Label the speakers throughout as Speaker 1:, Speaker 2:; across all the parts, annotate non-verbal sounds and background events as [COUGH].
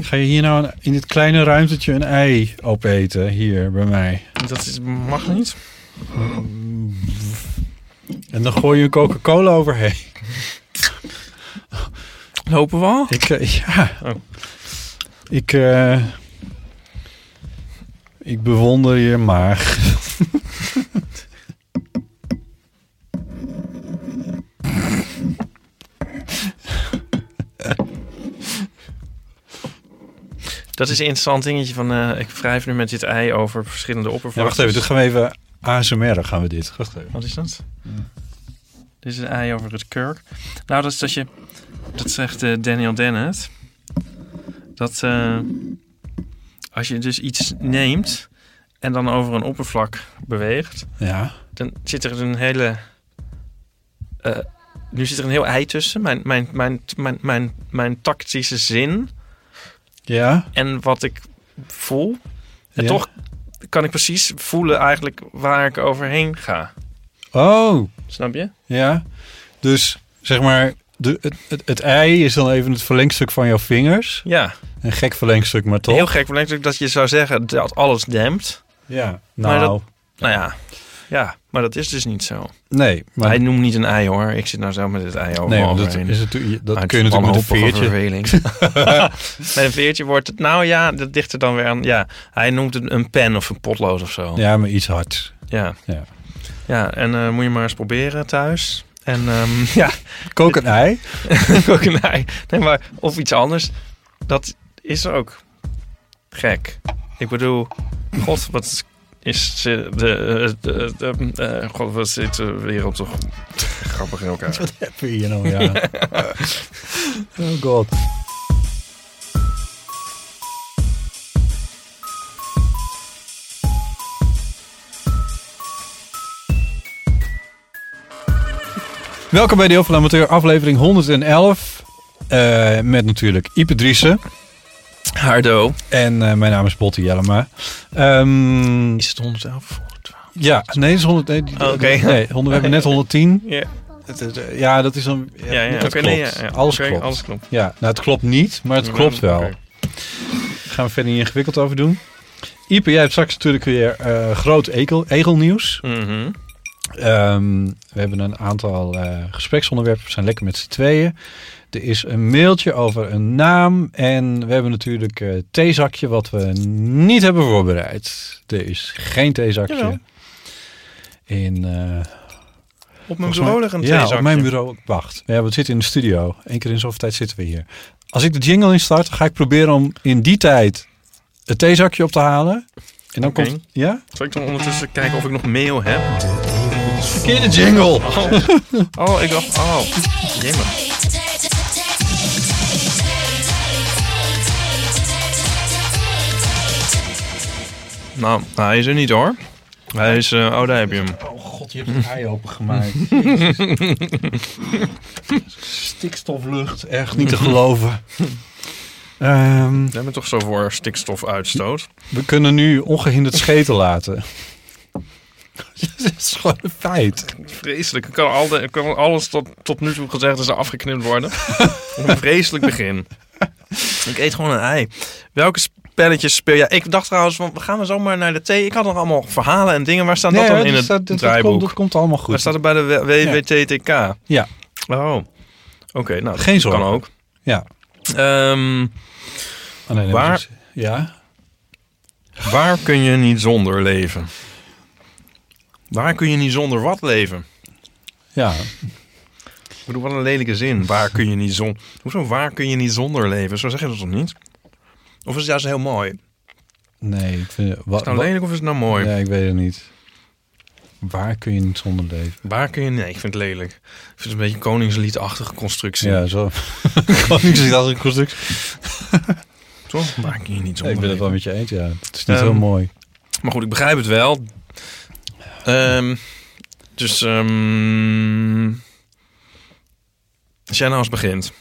Speaker 1: Ga je hier nou in dit kleine ruimtetje een ei opeten, hier bij mij?
Speaker 2: Dat is, mag niet.
Speaker 1: En dan gooi je een Coca-Cola overheen. [LAUGHS]
Speaker 2: Lopen we al?
Speaker 1: Ik, eh, ja.
Speaker 2: Oh.
Speaker 1: Ik, eh, ik bewonder je maag.
Speaker 2: Dat is een interessant dingetje van... eh, ik wrijf nu met dit ei over verschillende
Speaker 1: Ja,
Speaker 2: oppervlaktes.
Speaker 1: wacht even, dit gaan we even ASMR gaan we dit. Wacht even.
Speaker 2: Wat is dat? Dit is een ei over het kurk. Nou, dat is dat je... Dat zegt eh, Daniel Dennett. Dat eh, als je dus iets neemt en dan over een oppervlak beweegt...
Speaker 1: Ja.
Speaker 2: dan zit er een hele. eh, nu zit er een heel ei tussen. Mijn, mijn, mijn, mijn, mijn, mijn tactische zin
Speaker 1: Ja?
Speaker 2: en wat ik voel. En
Speaker 1: Ja.
Speaker 2: toch kan ik precies voelen eigenlijk waar ik overheen ga.
Speaker 1: Oh,
Speaker 2: Snap je?
Speaker 1: ja. Dus zeg maar, de, het, het, het ei is dan even het verlengstuk van jouw vingers.
Speaker 2: Ja.
Speaker 1: Een gek verlengstuk, maar toch.
Speaker 2: Heel gek verlengstuk dat je zou zeggen dat alles dempt.
Speaker 1: Ja.
Speaker 2: Maar
Speaker 1: Nou,
Speaker 2: dat- Nou ja. Ja, maar dat is dus niet zo.
Speaker 1: nee. Maar,
Speaker 2: Hij noemt niet een ei hoor. Ik zit nou zo met het ei over
Speaker 1: nee,
Speaker 2: me
Speaker 1: want dat,
Speaker 2: overheen.
Speaker 1: is natuurlijk, dat
Speaker 2: Maar
Speaker 1: kun je
Speaker 2: het is
Speaker 1: natuurlijk met een
Speaker 2: wanhopige
Speaker 1: veertje.
Speaker 2: verveling. [LAUGHS] met een veertje wordt het... Nou ja, dat ligt er dan weer aan. Ja, hij noemt het een pen of een potlood of zo. Ja.
Speaker 1: Ja, maar iets hards.
Speaker 2: Ja,
Speaker 1: Ja.
Speaker 2: en eh, moet je maar eens proberen thuis. En ehm, ja,
Speaker 1: Kook een ei. [LAUGHS]
Speaker 2: [LAUGHS] ook een ei. Nee, maar of iets anders. Dat is ook gek. Ik bedoel, god, wat is de... de, de, de- eh, god, wat zit de wereld toch grappig in elkaar.
Speaker 1: Heb je hier nou, ja. oh god. Welkom bij de Heel van de Amateur, aflevering 111. Eh, met natuurlijk Ipe Driessen.
Speaker 2: Hardo.
Speaker 1: En eh, mijn naam is Botte Jellema. Ehm,
Speaker 2: Is het 111 voor 12?
Speaker 1: ja, nee, het is 100, nee, die-
Speaker 2: Oh, oké.
Speaker 1: nee, 100 we hebben net 110.
Speaker 2: Ja,
Speaker 1: Het is, eh, Ja, dat is dan... Ja,
Speaker 2: ja, ja.
Speaker 1: dat
Speaker 2: oké,
Speaker 1: klopt.
Speaker 2: nee, ja, ja.
Speaker 1: Alles
Speaker 2: Oké,
Speaker 1: klopt.
Speaker 2: Alles klopt.
Speaker 1: Ja, nou het klopt niet, maar het klopt wel.
Speaker 2: Oké. Mhm.
Speaker 1: Gaan we verder niet ingewikkeld over doen. Ipe, jij hebt straks natuurlijk weer eh, groot egel, egelnieuws.
Speaker 2: Mhm.
Speaker 1: Ehm, we hebben een aantal eh, gespreksonderwerpen. We zijn lekker met z'n tweeën. Er is een mailtje over een naam. En we hebben natuurlijk eh theezakje wat we niet hebben voorbereid. Er is geen theezakje.
Speaker 2: Jawel.
Speaker 1: In, eh,
Speaker 2: Op mijn
Speaker 1: Volgens
Speaker 2: bureau
Speaker 1: mij-
Speaker 2: liggen een
Speaker 1: Ja,
Speaker 2: theezakje.
Speaker 1: op mijn bureau. Wacht. Ja, we zitten in de studio. Eén keer in zoveel tijd zitten we hier. Als ik de jingle instart, ga ik proberen om in die tijd het theezakje op te halen. En dan
Speaker 2: Oké.
Speaker 1: komt... Ja?
Speaker 2: Zal ik dan ondertussen kijken of ik nog mail heb?
Speaker 1: Verkeerde jingle!
Speaker 2: Oh, oh ik dacht... Oh, jammer. Nou, hij is er niet hoor. Hij is... eh, oh, daar heb je hem.
Speaker 1: Oh god, je hebt het ei [LAUGHS] opengemaakt. Stikstoflucht. Echt niet te geloven. Ehm,
Speaker 2: We hebben toch zo voor stikstofuitstoot.
Speaker 1: we kunnen nu ongehinderd scheten laten. [LAUGHS] Dat is gewoon een feit.
Speaker 2: Vreselijk. Ik kan, al de, kan alles tot, tot nu toe gezegd is er afgeknipt [LAUGHS] worden. een vreselijk begin. Ik eet gewoon een ei. Welke spelletjes speel jij? Ik dacht trouwens, van, we gaan we zomaar naar de thee. Ik had nog allemaal verhalen en dingen. Waar staan dat dan
Speaker 1: hoor,
Speaker 2: in
Speaker 1: dat
Speaker 2: het
Speaker 1: staat- dat- dat
Speaker 2: draaiboek?
Speaker 1: komt- Dat komt allemaal goed.
Speaker 2: Maar staat er bij de W- WWTTK?
Speaker 1: Ja.
Speaker 2: Oh. Oké, nou, dat
Speaker 1: Geen zorgen.
Speaker 2: kan ook.
Speaker 1: Ja.
Speaker 2: Ehm,
Speaker 1: Oh, nee, nee,
Speaker 2: Waar-
Speaker 1: dat is- Ja.
Speaker 2: Waar kun je niet zonder leven? Waar kun je niet zonder wat leven?
Speaker 1: Ja,
Speaker 2: Ik bedoel, wat een lelijke zin. Waar kun je niet zonder... Hoezo waar kun je niet zonder leven? Zo zeg je dat toch niet? Of is het juist heel mooi? Is
Speaker 1: nee. Ik vind,
Speaker 2: het nou lelijk of is het nou mooi?
Speaker 1: Nee, ik weet het niet. Waar kun je niet zonder leven?
Speaker 2: Waar kun je... Nee, ik vind het lelijk. Ik vind het een beetje een koningsliedachtige constructie. [LAUGHS]
Speaker 1: Ja, zo. Koningsdagelijke constructie. [LAUGHS]
Speaker 2: Toch? Waar kun je niet
Speaker 1: Ja,
Speaker 2: zonder
Speaker 1: [LAUGHS] ik ben het
Speaker 2: leven?
Speaker 1: wel met je eens, ja. Het is niet
Speaker 2: Ehm,
Speaker 1: heel mooi.
Speaker 2: Maar goed, ik begrijp het wel. Ehm, dus... ehm als jij nou eens begint.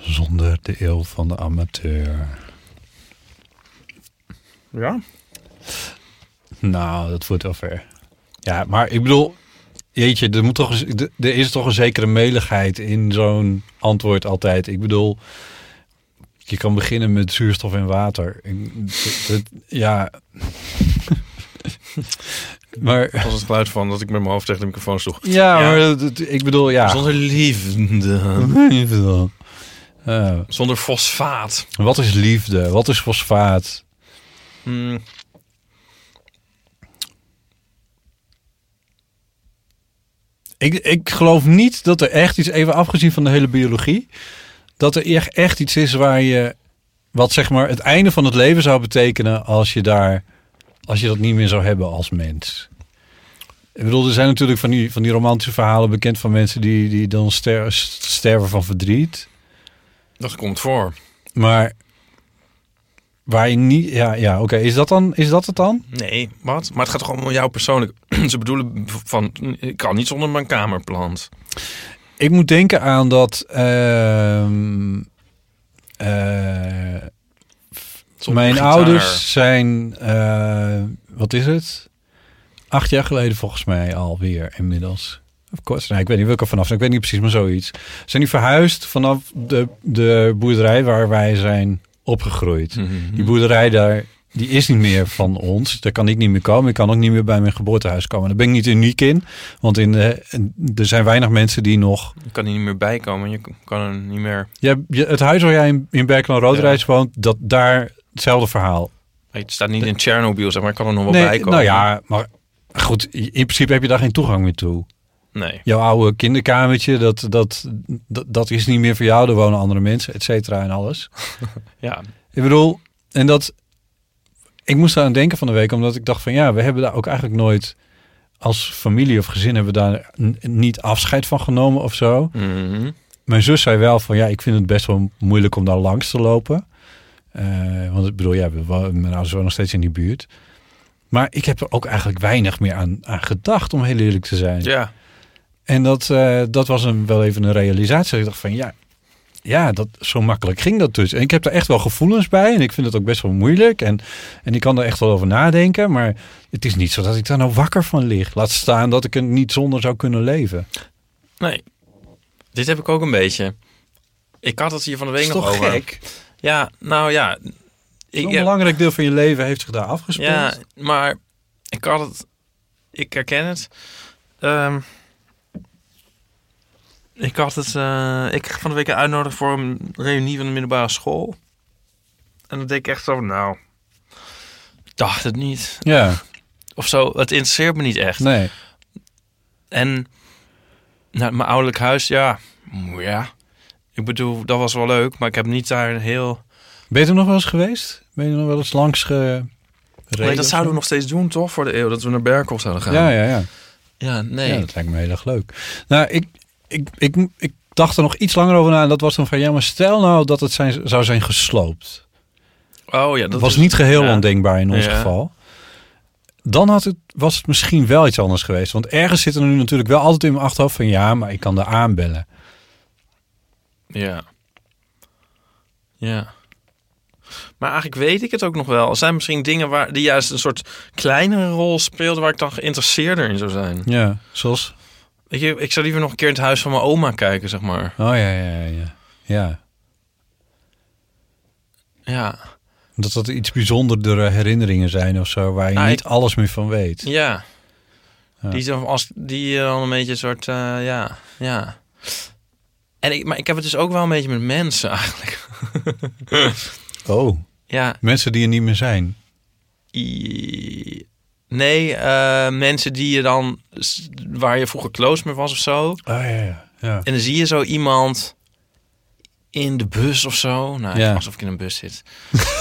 Speaker 1: Zonder de eeuw van de amateur.
Speaker 2: Ja?
Speaker 1: Nou, dat voelt wel ver. Ja, maar ik bedoel, jeetje, er, moet toch, eens- d- er is toch een zekere meligheid in zo'n antwoord altijd. Ik bedoel, je kan beginnen met zuurstof en water. Ik- d- d- ja. [LAUGHS] maar,
Speaker 2: Dat was het geluid van dat ik met mijn hoofd tegen de microfoon sloeg.
Speaker 1: ja,
Speaker 2: Ja.
Speaker 1: maar dat- dat- ik bedoel, ja.
Speaker 2: Zonder liefde.
Speaker 1: [LAUGHS] Liefde. Eh,
Speaker 2: Zonder fosfaat.
Speaker 1: wat is liefde? Wat is fosfaat?
Speaker 2: Hmm.
Speaker 1: Ik, ik geloof niet dat er echt iets, even afgezien van de hele biologie, dat er echt, echt iets is waar je, wat zeg maar het einde van het leven zou betekenen als je daar, als je dat niet meer zou hebben als mens. Ik bedoel, er zijn natuurlijk van die, van die romantische verhalen bekend van mensen die, die dan ster- sterven van verdriet.
Speaker 2: Dat komt voor.
Speaker 1: Maar waar je niet, ja, ja oké, is dat dan, is dat het dan?
Speaker 2: Nee, wat? Maar het gaat toch allemaal om jou persoonlijk. [CLEARS THROAT] Ze bedoelen van, ik kan niet zonder mijn kamerplant.
Speaker 1: Ik moet denken aan dat. ehm, eh,
Speaker 2: Zonder
Speaker 1: mijn
Speaker 2: gitaar. [LAUGHS]
Speaker 1: ouders zijn. eh, wat is het? Acht jaar geleden volgens mij alweer inmiddels. Of course, nou, ik weet niet welke vanaf zijn. Ik weet niet precies, maar zoiets. Zijn die verhuisd vanaf de, de boerderij waar wij zijn
Speaker 2: Hm.
Speaker 1: opgegroeid? Die
Speaker 2: Hmm.
Speaker 1: boerderij daar, die is niet meer van ons. Daar kan ik niet meer komen. Ik kan ook niet meer bij mijn geboortehuis komen. Daar ben ik niet uniek in. Want in, eh, er zijn weinig mensen die nog
Speaker 2: Je kan er niet meer bij komen. Je kan er niet meer...
Speaker 1: ja, je- het huis waar jij in, in Berkel en Roodrijs woont, dat daar hetzelfde verhaal.
Speaker 2: Het staat niet in Tsjernobyl, zeg maar. Ik kan er nog wel bij komen.
Speaker 1: nou ja, maar goed, in principe heb je daar geen toegang meer toe.
Speaker 2: Nee.
Speaker 1: Jouw oude kinderkamertje, dat, dat, dat, dat is niet meer voor jou. Er wonen andere mensen, et cetera en alles.
Speaker 2: Ja.
Speaker 1: Ik bedoel, en dat... Ik moest daar aan denken van de week, omdat ik dacht van ja, we hebben daar ook eigenlijk nooit... Als familie of gezin hebben we daar n- niet afscheid van genomen of zo.
Speaker 2: Mhm.
Speaker 1: mijn zus zei wel van ja, ik vind het best wel moeilijk om daar langs te lopen. Eh, want ik bedoel, ja, we wo- mijn ouders wonen nog steeds in die buurt. Maar ik heb er ook eigenlijk weinig meer aan, aan gedacht, om heel eerlijk te zijn.
Speaker 2: Ja.
Speaker 1: En dat, eh, dat was een, wel even een realisatie. Ik dacht van ja, ja dat, zo makkelijk ging dat dus. En ik heb daar echt wel gevoelens bij. En ik vind het ook best wel moeilijk. En, en ik kan er echt wel over nadenken. Maar het is niet zo dat ik daar nou wakker van lig. Laat staan dat ik er niet zonder zou kunnen leven.
Speaker 2: Nee. Dit heb ik ook een beetje. Ik had het hier van de
Speaker 1: Dat
Speaker 2: week
Speaker 1: is
Speaker 2: nog
Speaker 1: toch
Speaker 2: over.
Speaker 1: gek?
Speaker 2: Ja, nou ja. Ik,
Speaker 1: Zo'n
Speaker 2: ja,
Speaker 1: belangrijk deel van je leven heeft zich daar afgespeeld.
Speaker 2: Ja, maar ik had het. Ik herken het. Ehm, ik had het. eh, ik kreeg van de week een uitnodiging voor een reunie van de middelbare school. En dan denk ik echt zo, nou. Ik dacht het niet.
Speaker 1: Ja,
Speaker 2: Of zo. Het interesseert me niet echt.
Speaker 1: nee.
Speaker 2: En nou, mijn ouderlijk huis, ja. mm, Ja. Ik bedoel, dat was wel leuk, maar ik heb niet daar een heel.
Speaker 1: Ben je er nog wel eens geweest? Ben je er nog wel eens langs gereden?
Speaker 2: Nee,
Speaker 1: of
Speaker 2: dat
Speaker 1: zo?
Speaker 2: zouden we nog steeds doen, toch? Voor de eeuw, dat we naar Berkel zouden gaan.
Speaker 1: Ja, ja, ja.
Speaker 2: Ja, nee.
Speaker 1: Ja, dat lijkt me heel erg leuk. Nou, ik, ik, ik, ik, dacht er nog iets langer over na. En dat was dan van, ja, maar stel nou dat het zijn, zou zijn gesloopt.
Speaker 2: Oh ja,
Speaker 1: Dat
Speaker 2: dat
Speaker 1: was
Speaker 2: is-
Speaker 1: niet geheel
Speaker 2: ja.
Speaker 1: ondenkbaar in ons
Speaker 2: Ja.
Speaker 1: geval. Dan had het, was het misschien wel iets anders geweest. Want ergens zit er nu natuurlijk wel altijd in mijn achterhoofd van... ja, maar ik kan daar aanbellen.
Speaker 2: Ja. Ja. Maar eigenlijk weet ik het ook nog wel. Er zijn misschien dingen waar, die juist een soort kleinere rol speelden... waar ik dan geïnteresseerder in zou zijn.
Speaker 1: Ja, zoals...
Speaker 2: Weet je, ik zou liever nog een keer in het huis van mijn oma kijken, zeg maar.
Speaker 1: Oh, ja, ja, ja, ja. Ja,
Speaker 2: Ja.
Speaker 1: Dat dat iets bijzonderdere herinneringen zijn of zo, waar je
Speaker 2: Nou,
Speaker 1: niet
Speaker 2: ik-
Speaker 1: alles meer van weet.
Speaker 2: Ja.
Speaker 1: Ja.
Speaker 2: Die, dan, als, die eh, dan een beetje een soort... eh, ja, ja. En ik, maar ik heb het dus ook wel een beetje [LAUGHS] met mensen eigenlijk.
Speaker 1: Oh,
Speaker 2: Ja,
Speaker 1: mensen die er niet meer zijn.
Speaker 2: I- nee, eh, mensen die je dan... s- Waar je vroeger close mee was of zo.
Speaker 1: Ah ja, ja. ja.
Speaker 2: En dan zie je zo iemand in de bus of zo. Nou,
Speaker 1: Ja.
Speaker 2: alsof ik in een bus zit.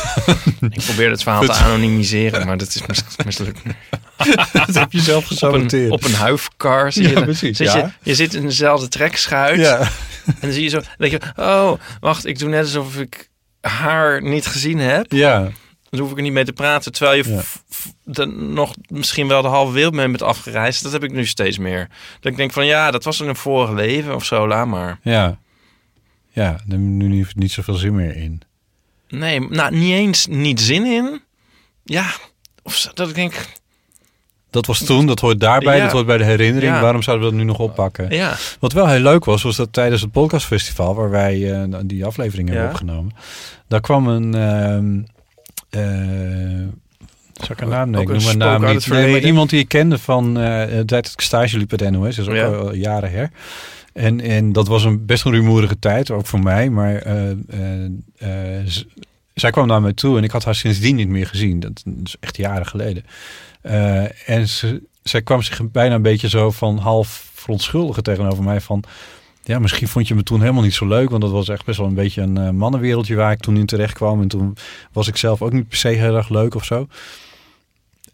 Speaker 2: [LAUGHS] ik probeer het verhaal te anonimiseren, maar dat is mis-
Speaker 1: [LAUGHS]
Speaker 2: mislukt.
Speaker 1: Dat heb je zelf
Speaker 2: Op een,
Speaker 1: gesaboteerd.
Speaker 2: op een huifkar zie
Speaker 1: Ja,
Speaker 2: je. dan-
Speaker 1: precies,
Speaker 2: zit
Speaker 1: ja.
Speaker 2: je, je zit in dezelfde trekschuit.
Speaker 1: ja.
Speaker 2: En dan zie je zo, dan denk je, oh, wacht, ik doe net alsof ik haar niet gezien heb.
Speaker 1: ja,
Speaker 2: Dan hoef ik er niet mee te praten. Terwijl je
Speaker 1: Ja.
Speaker 2: f- f- de- nog misschien wel de halve wereld mee bent afgereisd. Dat heb ik nu steeds meer. Dat ik denk van, ja, dat was in een vorige leven of zo, laat maar.
Speaker 1: ja. Ja, daar heb ik nu niet, niet zoveel zin meer in.
Speaker 2: Nee, nou, niet eens niet zin in. Ja, of zo, dat ik denk,
Speaker 1: Dat was toen, dat hoort daarbij,
Speaker 2: Ja.
Speaker 1: dat hoort bij de herinnering.
Speaker 2: Ja.
Speaker 1: Waarom zouden we dat nu nog oppakken?
Speaker 2: ja.
Speaker 1: Wat wel heel leuk was, was dat tijdens het podcastfestival, waar wij eh, die aflevering hebben
Speaker 2: Ja.
Speaker 1: opgenomen, daar kwam een. ehm eh, zal ik haar naam
Speaker 2: Ook
Speaker 1: nemen? Ik
Speaker 2: een
Speaker 1: noem haar
Speaker 2: spook
Speaker 1: naam
Speaker 2: uit
Speaker 1: niet. Nee,
Speaker 2: het
Speaker 1: maar
Speaker 2: verleden.
Speaker 1: iemand die ik kende van eh, de tijd dat ik stage liep bij de NOS, dat is ook
Speaker 2: Ja.
Speaker 1: al jaren her. En, en dat was een best een rumoerige tijd, ook voor mij. Maar eh, eh, eh, z- zij kwam naar mij toe en ik had haar sindsdien niet meer gezien. Dat is echt jaren geleden. Eh, en ze, zij kwam zich bijna een beetje zo van half verontschuldigen tegenover mij van... Ja, misschien vond je me toen helemaal niet zo leuk, want dat was echt best wel een beetje een eh, mannenwereldje waar ik toen in terecht kwam. En toen was ik zelf ook niet per se heel erg leuk of zo.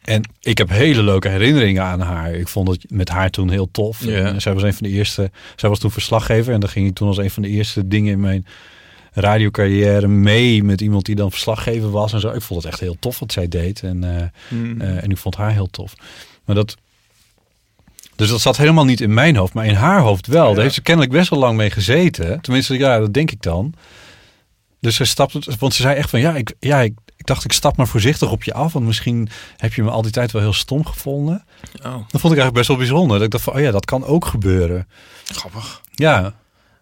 Speaker 1: En ik heb hele leuke herinneringen aan haar. Ik vond het met haar toen heel tof.
Speaker 2: Ja.
Speaker 1: En zij was een van de eerste. Zij was toen verslaggever en dan ging ik toen als een van de eerste dingen in mijn radiocarrière mee met iemand die dan verslaggever was en zo. Ik vond het echt heel tof wat zij deed en, eh,
Speaker 2: Mhm.
Speaker 1: eh, en ik vond haar heel tof. Maar dat, dus dat zat helemaal niet in mijn hoofd, maar in haar hoofd wel.
Speaker 2: Ja.
Speaker 1: Daar heeft ze kennelijk best wel lang mee gezeten. Tenminste, ja, dat denk ik dan. Dus ze stapte, want ze zei echt van ja, ik, ja ik, ik dacht ik stap maar voorzichtig op je af, want misschien heb je me al die tijd wel heel stom gevonden.
Speaker 2: Oh,
Speaker 1: Dat vond ik eigenlijk best wel bijzonder. Dat ik dacht van oh ja, dat kan ook gebeuren.
Speaker 2: grappig.
Speaker 1: Ja,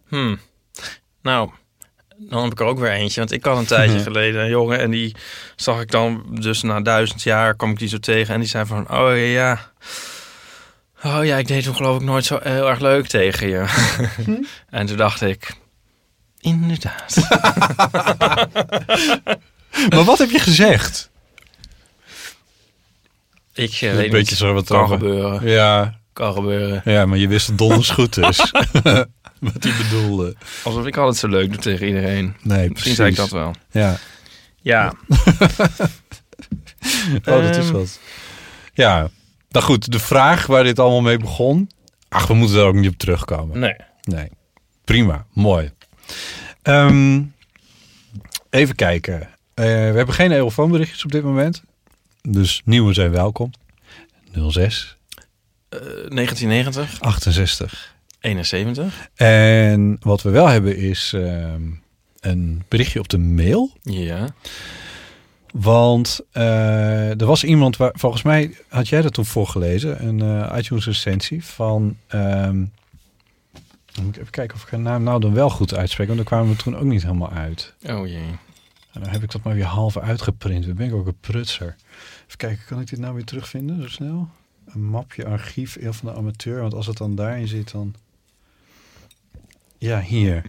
Speaker 2: Hmm. Nou, dan heb ik er ook weer eentje. Want ik had een
Speaker 1: [LAUGHS]
Speaker 2: tijdje geleden een jongen en die zag ik dan dus na duizend jaar kwam ik die zo tegen. En die zei van, oh ja, ja. Oh ja, ik deed toen geloof ik nooit zo heel erg leuk tegen
Speaker 1: [LAUGHS]
Speaker 2: je.
Speaker 1: Hm?
Speaker 2: [LAUGHS] en toen dacht ik,
Speaker 1: [LAUGHS]
Speaker 2: inderdaad.
Speaker 1: maar wat heb je gezegd?
Speaker 2: Ik eh,
Speaker 1: Een
Speaker 2: weet
Speaker 1: beetje
Speaker 2: niet,
Speaker 1: zo wat
Speaker 2: kan
Speaker 1: over-
Speaker 2: gebeuren.
Speaker 1: Ja,
Speaker 2: Kan gebeuren.
Speaker 1: ja, maar je wist het donders goed dus. [LAUGHS] wat hij bedoelde.
Speaker 2: Alsof ik altijd zo leuk doe tegen iedereen.
Speaker 1: Nee,
Speaker 2: Misschien
Speaker 1: precies.
Speaker 2: zei ik dat wel.
Speaker 1: Ja.
Speaker 2: Ja.
Speaker 1: [LAUGHS] Oh, dat is
Speaker 2: Ehm.
Speaker 1: wat. Ja, nou goed, de vraag waar dit allemaal mee begon. Ach, we moeten daar ook niet op terugkomen.
Speaker 2: Nee.
Speaker 1: Nee. Prima, mooi. Ehm, even kijken. Eh, we hebben geen eeuwfoonberichtjes op dit moment. Dus nieuwe zijn welkom. 06
Speaker 2: Eh, 1990,
Speaker 1: 68.
Speaker 2: 71.
Speaker 1: En wat we wel hebben is ehm, een berichtje op de mail.
Speaker 2: Ja.
Speaker 1: Want eh, er was iemand waar, volgens mij had jij dat toen voorgelezen, een eh, iTunes recensie van. ehm, moet ik even kijken of ik haar naam nou dan wel goed uitspreek, want daar kwamen we toen ook niet helemaal uit.
Speaker 2: Oh jee. [LAUGHS]
Speaker 1: En dan heb ik dat maar weer half uitgeprint. Dan ben ik ook een prutser. Even kijken, kan ik dit nou weer terugvinden zo snel? Een mapje archief Eeuw van de Amateur, want als het dan daarin zit, dan. Ja, hier.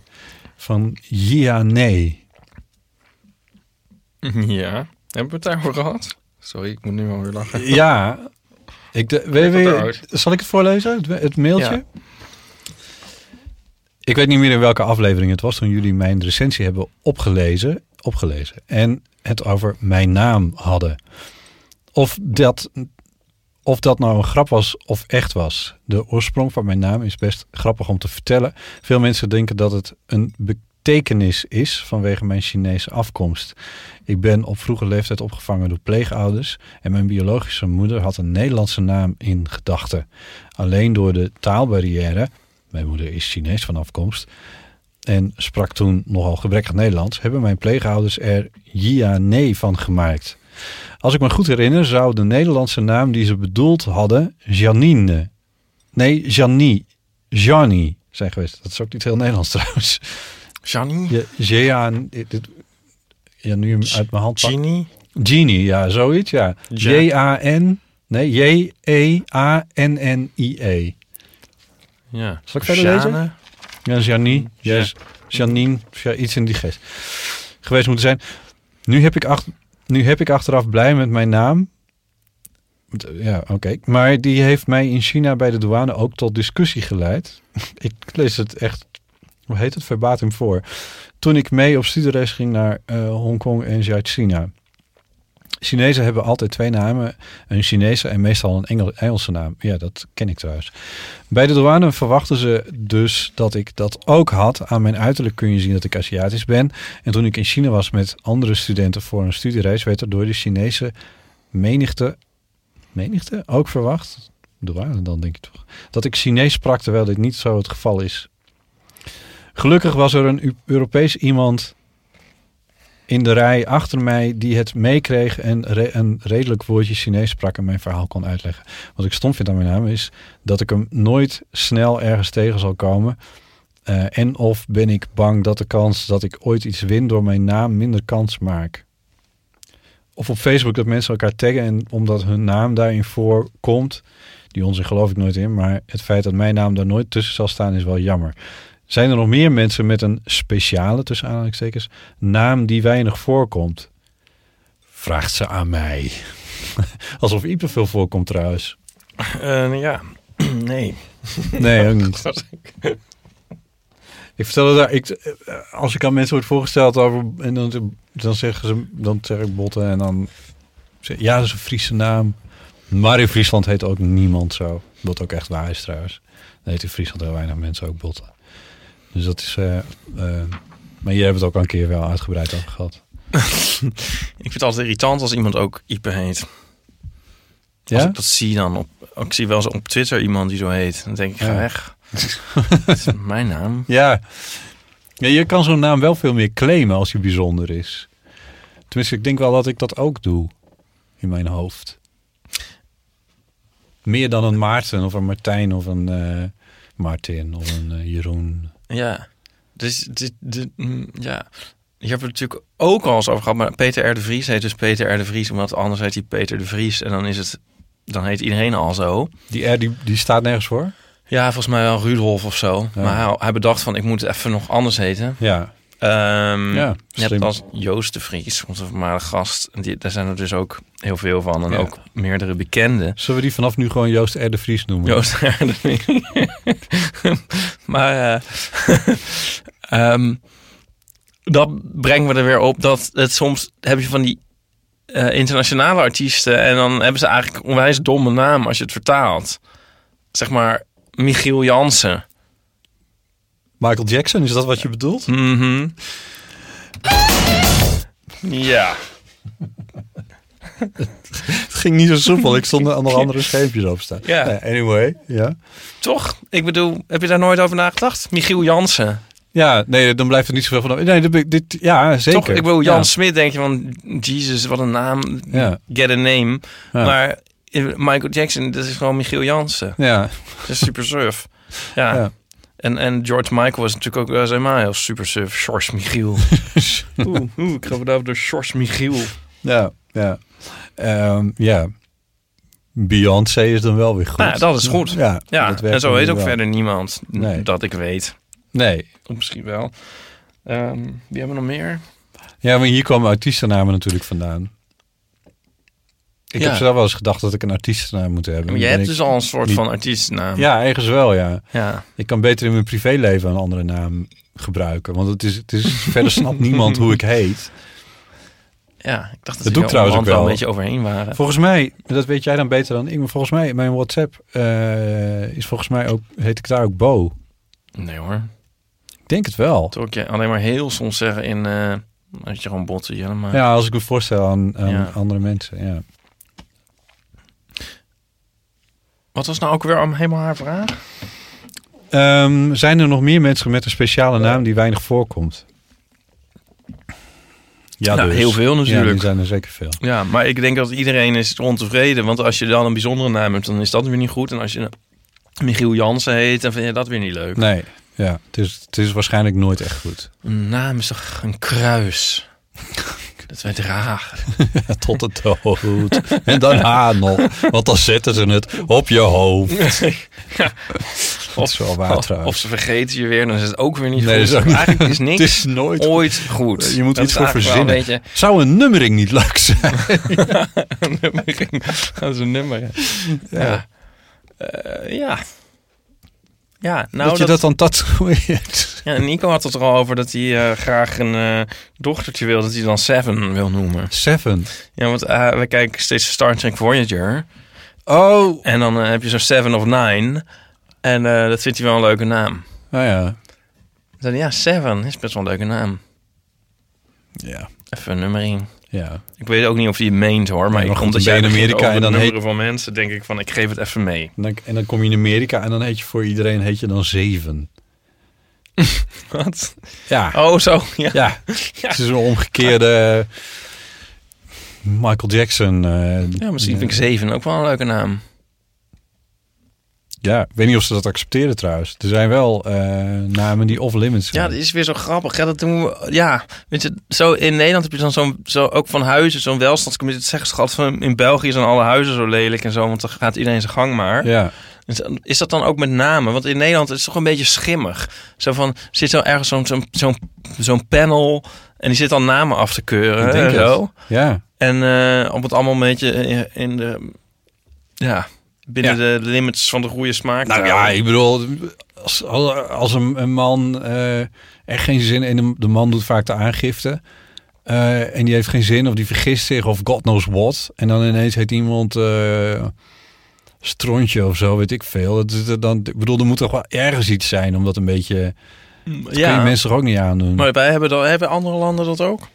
Speaker 1: Van Jia Nee.
Speaker 2: Ja. Hebben we het daarover gehad? Sorry, ik moet nu wel weer lachen.
Speaker 1: Ja. Ik de, weet,
Speaker 2: ben
Speaker 1: weet-
Speaker 2: te oud.
Speaker 1: zal ik het voorlezen? Het, het mailtje?
Speaker 2: Ja.
Speaker 1: Ik weet niet meer in welke aflevering het was toen jullie mijn recensie hebben opgelezen, opgelezen en het over mijn naam hadden. Of dat, of dat nou een grap was of echt was. De oorsprong van mijn naam is best grappig om te vertellen. Veel mensen denken dat het een betekenis is vanwege mijn Chinese afkomst. Ik ben op vroege leeftijd opgevangen door pleegouders en mijn biologische moeder had een Nederlandse naam in gedachten. Alleen door de taalbarrière, mijn moeder is Chinees van afkomst en sprak toen nogal gebrekkig Nederlands, hebben mijn pleegouders er Jiane van gemaakt. Als ik me goed herinner, zou de Nederlandse naam die ze bedoeld hadden Janine. Nee, Janie. Jani zijn geweest. Dat is ook niet heel Nederlands [LAUGHS] trouwens.
Speaker 2: Johnny?
Speaker 1: Ja, Jean. dit- Ja, nu hem uit mijn hand. pak-
Speaker 2: Genie?
Speaker 1: Genie, ja, zoiets, ja.
Speaker 2: Ja.
Speaker 1: J-A-N, nee, E J-E-A-N-N-I-E.
Speaker 2: Ja.
Speaker 1: Zal ik verder lezen? Ja, Janine, yes. Janine, ja, iets in die geest. Geweest moeten zijn. Nu heb, ik acht, nu heb ik achteraf blij met mijn naam, Ja, oké. Maar die heeft mij in China bij de douane ook tot discussie geleid. [LAUGHS] ik lees het echt, hoe heet het, verbatim voor. Toen ik mee op studiereis ging naar eh, Hongkong en Zuid-China. Chinezen hebben altijd twee namen. Een Chinese en meestal een Engel- Engelse naam. Ja, dat ken ik trouwens. Bij de douane verwachten ze dus dat ik dat ook had. Aan mijn uiterlijk kun je zien dat ik Aziatisch ben. En toen ik in China was met andere studenten voor een studiereis... werd er door de Chinese menigte menigte ook verwacht. Douane dan, denk ik toch. Dat ik Chinees sprak, terwijl dit niet zo het geval is. Gelukkig was er een U- Europees iemand in de rij achter mij die het meekreeg en re- een redelijk woordje Chinees sprak en mijn verhaal kon uitleggen. Wat ik stom vind aan mijn naam is dat ik hem nooit snel ergens tegen zal komen. Eh, en of ben ik bang dat de kans dat ik ooit iets win door mijn naam minder kans maak of op Facebook dat mensen elkaar taggen en omdat hun naam daarin voorkomt, die onzin geloof ik nooit in, maar het feit dat mijn naam daar nooit tussen zal staan is wel jammer. Zijn er nog meer mensen met een speciale, tussen aanhalingstekens, naam die weinig voorkomt? Vraagt ze aan mij. [LAUGHS] Alsof Ieper veel voorkomt trouwens.
Speaker 2: Eh, ja, [CLEARS THROAT] nee.
Speaker 1: Nee, ook niet. Ik vertelde daar, ik, eh, als ik aan mensen word voorgesteld over, en dan, dan zeggen ze, dan zeg ik botten en dan, zeg- ja, dat is een Friese naam. Maar in Friesland heet ook niemand zo. Wat ook echt waar is trouwens. Dan heet in Friesland heel weinig mensen ook botten. Dus dat is, eh, eh, maar je hebt het ook al een keer wel uitgebreid over gehad.
Speaker 2: Ik vind het altijd irritant als iemand ook Ipe heet. Als
Speaker 1: Ja?
Speaker 2: ik dat zie dan op... Ik zie wel eens op Twitter iemand die zo heet. Dan denk ik, ga
Speaker 1: Ja. [LAUGHS]
Speaker 2: weg. Dat is mijn naam.
Speaker 1: Ja. ja. Je kan zo'n naam wel veel meer claimen als hij bijzonder is. Tenminste, ik denk wel dat ik dat ook doe. In mijn hoofd. Meer dan een Maarten of een Martijn of een eh, Martin of een eh, Jeroen.
Speaker 2: Ja. Dus, dit, dit, mm, ja. Je hebt het natuurlijk ook al eens over gehad, maar Peter R. de Vries heet dus Peter R. de Vries, omdat anders heet hij Peter de Vries en dan is het, dan heet iedereen al zo.
Speaker 1: Die R die, die staat nergens voor?
Speaker 2: Ja, volgens mij wel Rudolf of zo.
Speaker 1: Ja.
Speaker 2: Maar hij, hij bedacht van, ik moet het even nog anders heten.
Speaker 1: Ja.
Speaker 2: Ehm
Speaker 1: Ja, slim.
Speaker 2: net als Joost de Vries, onze voormalige gast. En Die, daar zijn er dus ook heel veel van. En
Speaker 1: Ja.
Speaker 2: ook meerdere bekenden.
Speaker 1: Zullen we die vanaf nu gewoon Joost R. de Vries noemen?
Speaker 2: [LAUGHS] Joost R. de Vries. maar eh, [LAUGHS] ehm, dat brengen we er weer op. Dat het soms heb je van die eh, internationale artiesten. En dan hebben ze eigenlijk een onwijs domme naam als je het vertaalt. Zeg maar Michiel Jansen.
Speaker 1: Michael Jackson, is dat wat je bedoelt?
Speaker 2: Mhm. Ja.
Speaker 1: [LAUGHS] Het ging niet zo soepel. Ik stond er aan de [LAUGHS] andere scheepjes op staan.
Speaker 2: Ja.
Speaker 1: Nou anyway. Ja.
Speaker 2: Toch? Ik bedoel, heb je daar nooit over nagedacht? Michiel Jansen.
Speaker 1: ja, nee, dan blijft er niet zoveel van. Nee, dat ben ik- dit, ja, zeker.
Speaker 2: Toch? Ik bedoel, Jan
Speaker 1: Ja.
Speaker 2: Smit denk je van... Jesus, wat een naam.
Speaker 1: Ja.
Speaker 2: Get a name.
Speaker 1: Ja.
Speaker 2: Maar eh, Michael Jackson, dat is gewoon Michiel Jansen.
Speaker 1: Ja.
Speaker 2: Dat is super surf. Ja.
Speaker 1: Ja.
Speaker 2: En, en George Michael was natuurlijk ook wel eens helemaal heel super surf. George Michiel.
Speaker 1: [LAUGHS]
Speaker 2: oeh, oeh, ik ga vandaag door George Michiel.
Speaker 1: Ja, ja. Ehm, ja. Beyoncé is dan wel weer goed.
Speaker 2: Nou, dat is goed.
Speaker 1: Ja,
Speaker 2: Ja,
Speaker 1: dat werkt
Speaker 2: en zo
Speaker 1: dan
Speaker 2: weet
Speaker 1: weer
Speaker 2: ook
Speaker 1: wel.
Speaker 2: verder niemand. n-
Speaker 1: Nee.
Speaker 2: Dat ik weet.
Speaker 1: Nee.
Speaker 2: Of misschien wel. Ehm, wie hebben we nog meer?
Speaker 1: Ja, maar hier komen artiestennamen natuurlijk vandaan. Ik
Speaker 2: Ja.
Speaker 1: heb zelf wel eens gedacht dat ik een artiestennaam moet hebben.
Speaker 2: Maar je
Speaker 1: Dan
Speaker 2: hebt
Speaker 1: ben
Speaker 2: dus al een soort
Speaker 1: niet-
Speaker 2: van artiestennaam.
Speaker 1: ik- Ja, ergens wel, ja.
Speaker 2: ja.
Speaker 1: Ik kan beter in mijn privéleven een andere naam gebruiken. Want het is, het is verder
Speaker 2: [LAUGHS]
Speaker 1: snapt niemand hoe ik heet.
Speaker 2: Ja, ik dacht
Speaker 1: doe
Speaker 2: dat, we
Speaker 1: ik trouwens ook
Speaker 2: er wel een
Speaker 1: wel.
Speaker 2: beetje overheen waren.
Speaker 1: Volgens mij, dat weet jij dan beter dan ik, maar volgens mij, mijn WhatsApp eh, is volgens mij ook, heet ik daar ook Bo.
Speaker 2: Nee hoor.
Speaker 1: Ik denk het wel.
Speaker 2: Toen ik je alleen maar heel soms zeggen in... eh had je gewoon botten, Jellema.
Speaker 1: Ja, als ik me voorstel aan, aan
Speaker 2: Ja.
Speaker 1: andere mensen, ja.
Speaker 2: Wat was nou ook weer om- helemaal haar vraag?
Speaker 1: Ehm, zijn er nog meer mensen met een
Speaker 2: Eh.
Speaker 1: speciale naam die weinig voorkomt? Ja, dus.
Speaker 2: Nou, heel veel
Speaker 1: Ja,
Speaker 2: natuurlijk.
Speaker 1: die zijn er zeker veel.
Speaker 2: Ja, maar ik denk dat iedereen is ontevreden. Want als je dan een bijzondere naam hebt, dan is dat weer niet goed. En als je Michiel Jansen heet, dan vind je dat weer niet leuk.
Speaker 1: Nee, ja, het is, het is waarschijnlijk nooit echt goed. [LAUGHS]
Speaker 2: Een naam is toch een [LAUGHS] kruis? dat wij dragen.
Speaker 1: Tot de dood.
Speaker 2: [LAUGHS]
Speaker 1: en daarna nog. Want dan zetten ze het op je hoofd. Dat is wel waar
Speaker 2: of,
Speaker 1: trouwens.
Speaker 2: of ze vergeten je weer, dan is het ook weer niet
Speaker 1: Nee, dat
Speaker 2: goed.
Speaker 1: is ook niet- [LAUGHS]
Speaker 2: Eigenlijk is niks
Speaker 1: Het is nooit
Speaker 2: ooit goed.
Speaker 1: Je moet
Speaker 2: Dat
Speaker 1: iets
Speaker 2: is
Speaker 1: voor
Speaker 2: eigenlijk wel
Speaker 1: verzinnen.
Speaker 2: Een
Speaker 1: Zou een nummering niet leuk zijn?
Speaker 2: beetje nummering. Dat is een nummer, ja. Ja. Eh, ja. Ja, nou,
Speaker 1: dat je dat dan tatoeëert.
Speaker 2: ja, Nico had het er al over dat hij eh, graag een eh, dochtertje wil, dat hij dan Seven wil noemen.
Speaker 1: Seven.
Speaker 2: Ja, want eh, we kijken steeds Star Trek Voyager.
Speaker 1: Oh.
Speaker 2: En dan eh, heb je zo'n Seven of Nine. En eh, dat vindt hij wel een leuke naam.
Speaker 1: Nou ja.
Speaker 2: Dan, ja, Seven is best wel een leuke naam.
Speaker 1: Ja.
Speaker 2: Even een nummering.
Speaker 1: ja.
Speaker 2: Ik weet ook niet of hij het meent hoor, maar,
Speaker 1: maar
Speaker 2: ik
Speaker 1: goed,
Speaker 2: omdat
Speaker 1: dan
Speaker 2: jij
Speaker 1: ben je in
Speaker 2: begint
Speaker 1: Amerika
Speaker 2: over
Speaker 1: en dan
Speaker 2: de nummeren van mensen, denk ik van ik geef het even mee.
Speaker 1: En dan, en dan kom je in Amerika en dan heet je voor iedereen heet je dan zeven.
Speaker 2: Wat?
Speaker 1: Ja.
Speaker 2: Oh zo, ja.
Speaker 1: Ja. Het is een omgekeerde Michael Jackson. eh,
Speaker 2: Ja, misschien vind ik zeven ook wel een leuke naam.
Speaker 1: Ja, ik weet niet of ze dat accepteren trouwens. Er zijn wel eh, namen die off-limits
Speaker 2: Ja,
Speaker 1: zijn.
Speaker 2: dat is weer zo grappig. Ja, dat doen we, ja. Weet je, zo in Nederland heb je dan zo'n, zo ook van huizen, zo'n welstandscommissie. Dat zeggen ze altijd van in België zijn alle huizen zo lelijk en zo, want dan gaat iedereen zijn gang maar.
Speaker 1: ja.
Speaker 2: Is- Is dat dan ook met namen? Want in Nederland is het toch een beetje schimmig. Zo van, zit zo ergens zo'n, zo'n, zo'n, zo'n panel en die zit dan namen af te keuren.
Speaker 1: Ik denk
Speaker 2: en
Speaker 1: het.
Speaker 2: zo.
Speaker 1: ja.
Speaker 2: En eh, om het allemaal een beetje in, in de. Ja, binnen de limits van de goede smaak. te
Speaker 1: Nou ja,
Speaker 2: houden.
Speaker 1: ik bedoel, als, als een, een man eh, echt geen zin in, de- de man doet vaak de aangifte. eh, en die heeft geen zin of die vergist zich of god knows what. En dan ineens heet iemand eh strontje of zo, weet ik veel. Dat, is- dat- dan, ik bedoel, er moet toch wel ergens iets zijn om dat een beetje... Dat kun je
Speaker 2: ja.
Speaker 1: mensen toch ook niet aandoen?
Speaker 2: Maar wij hebben, dat, hebben andere landen dat ook.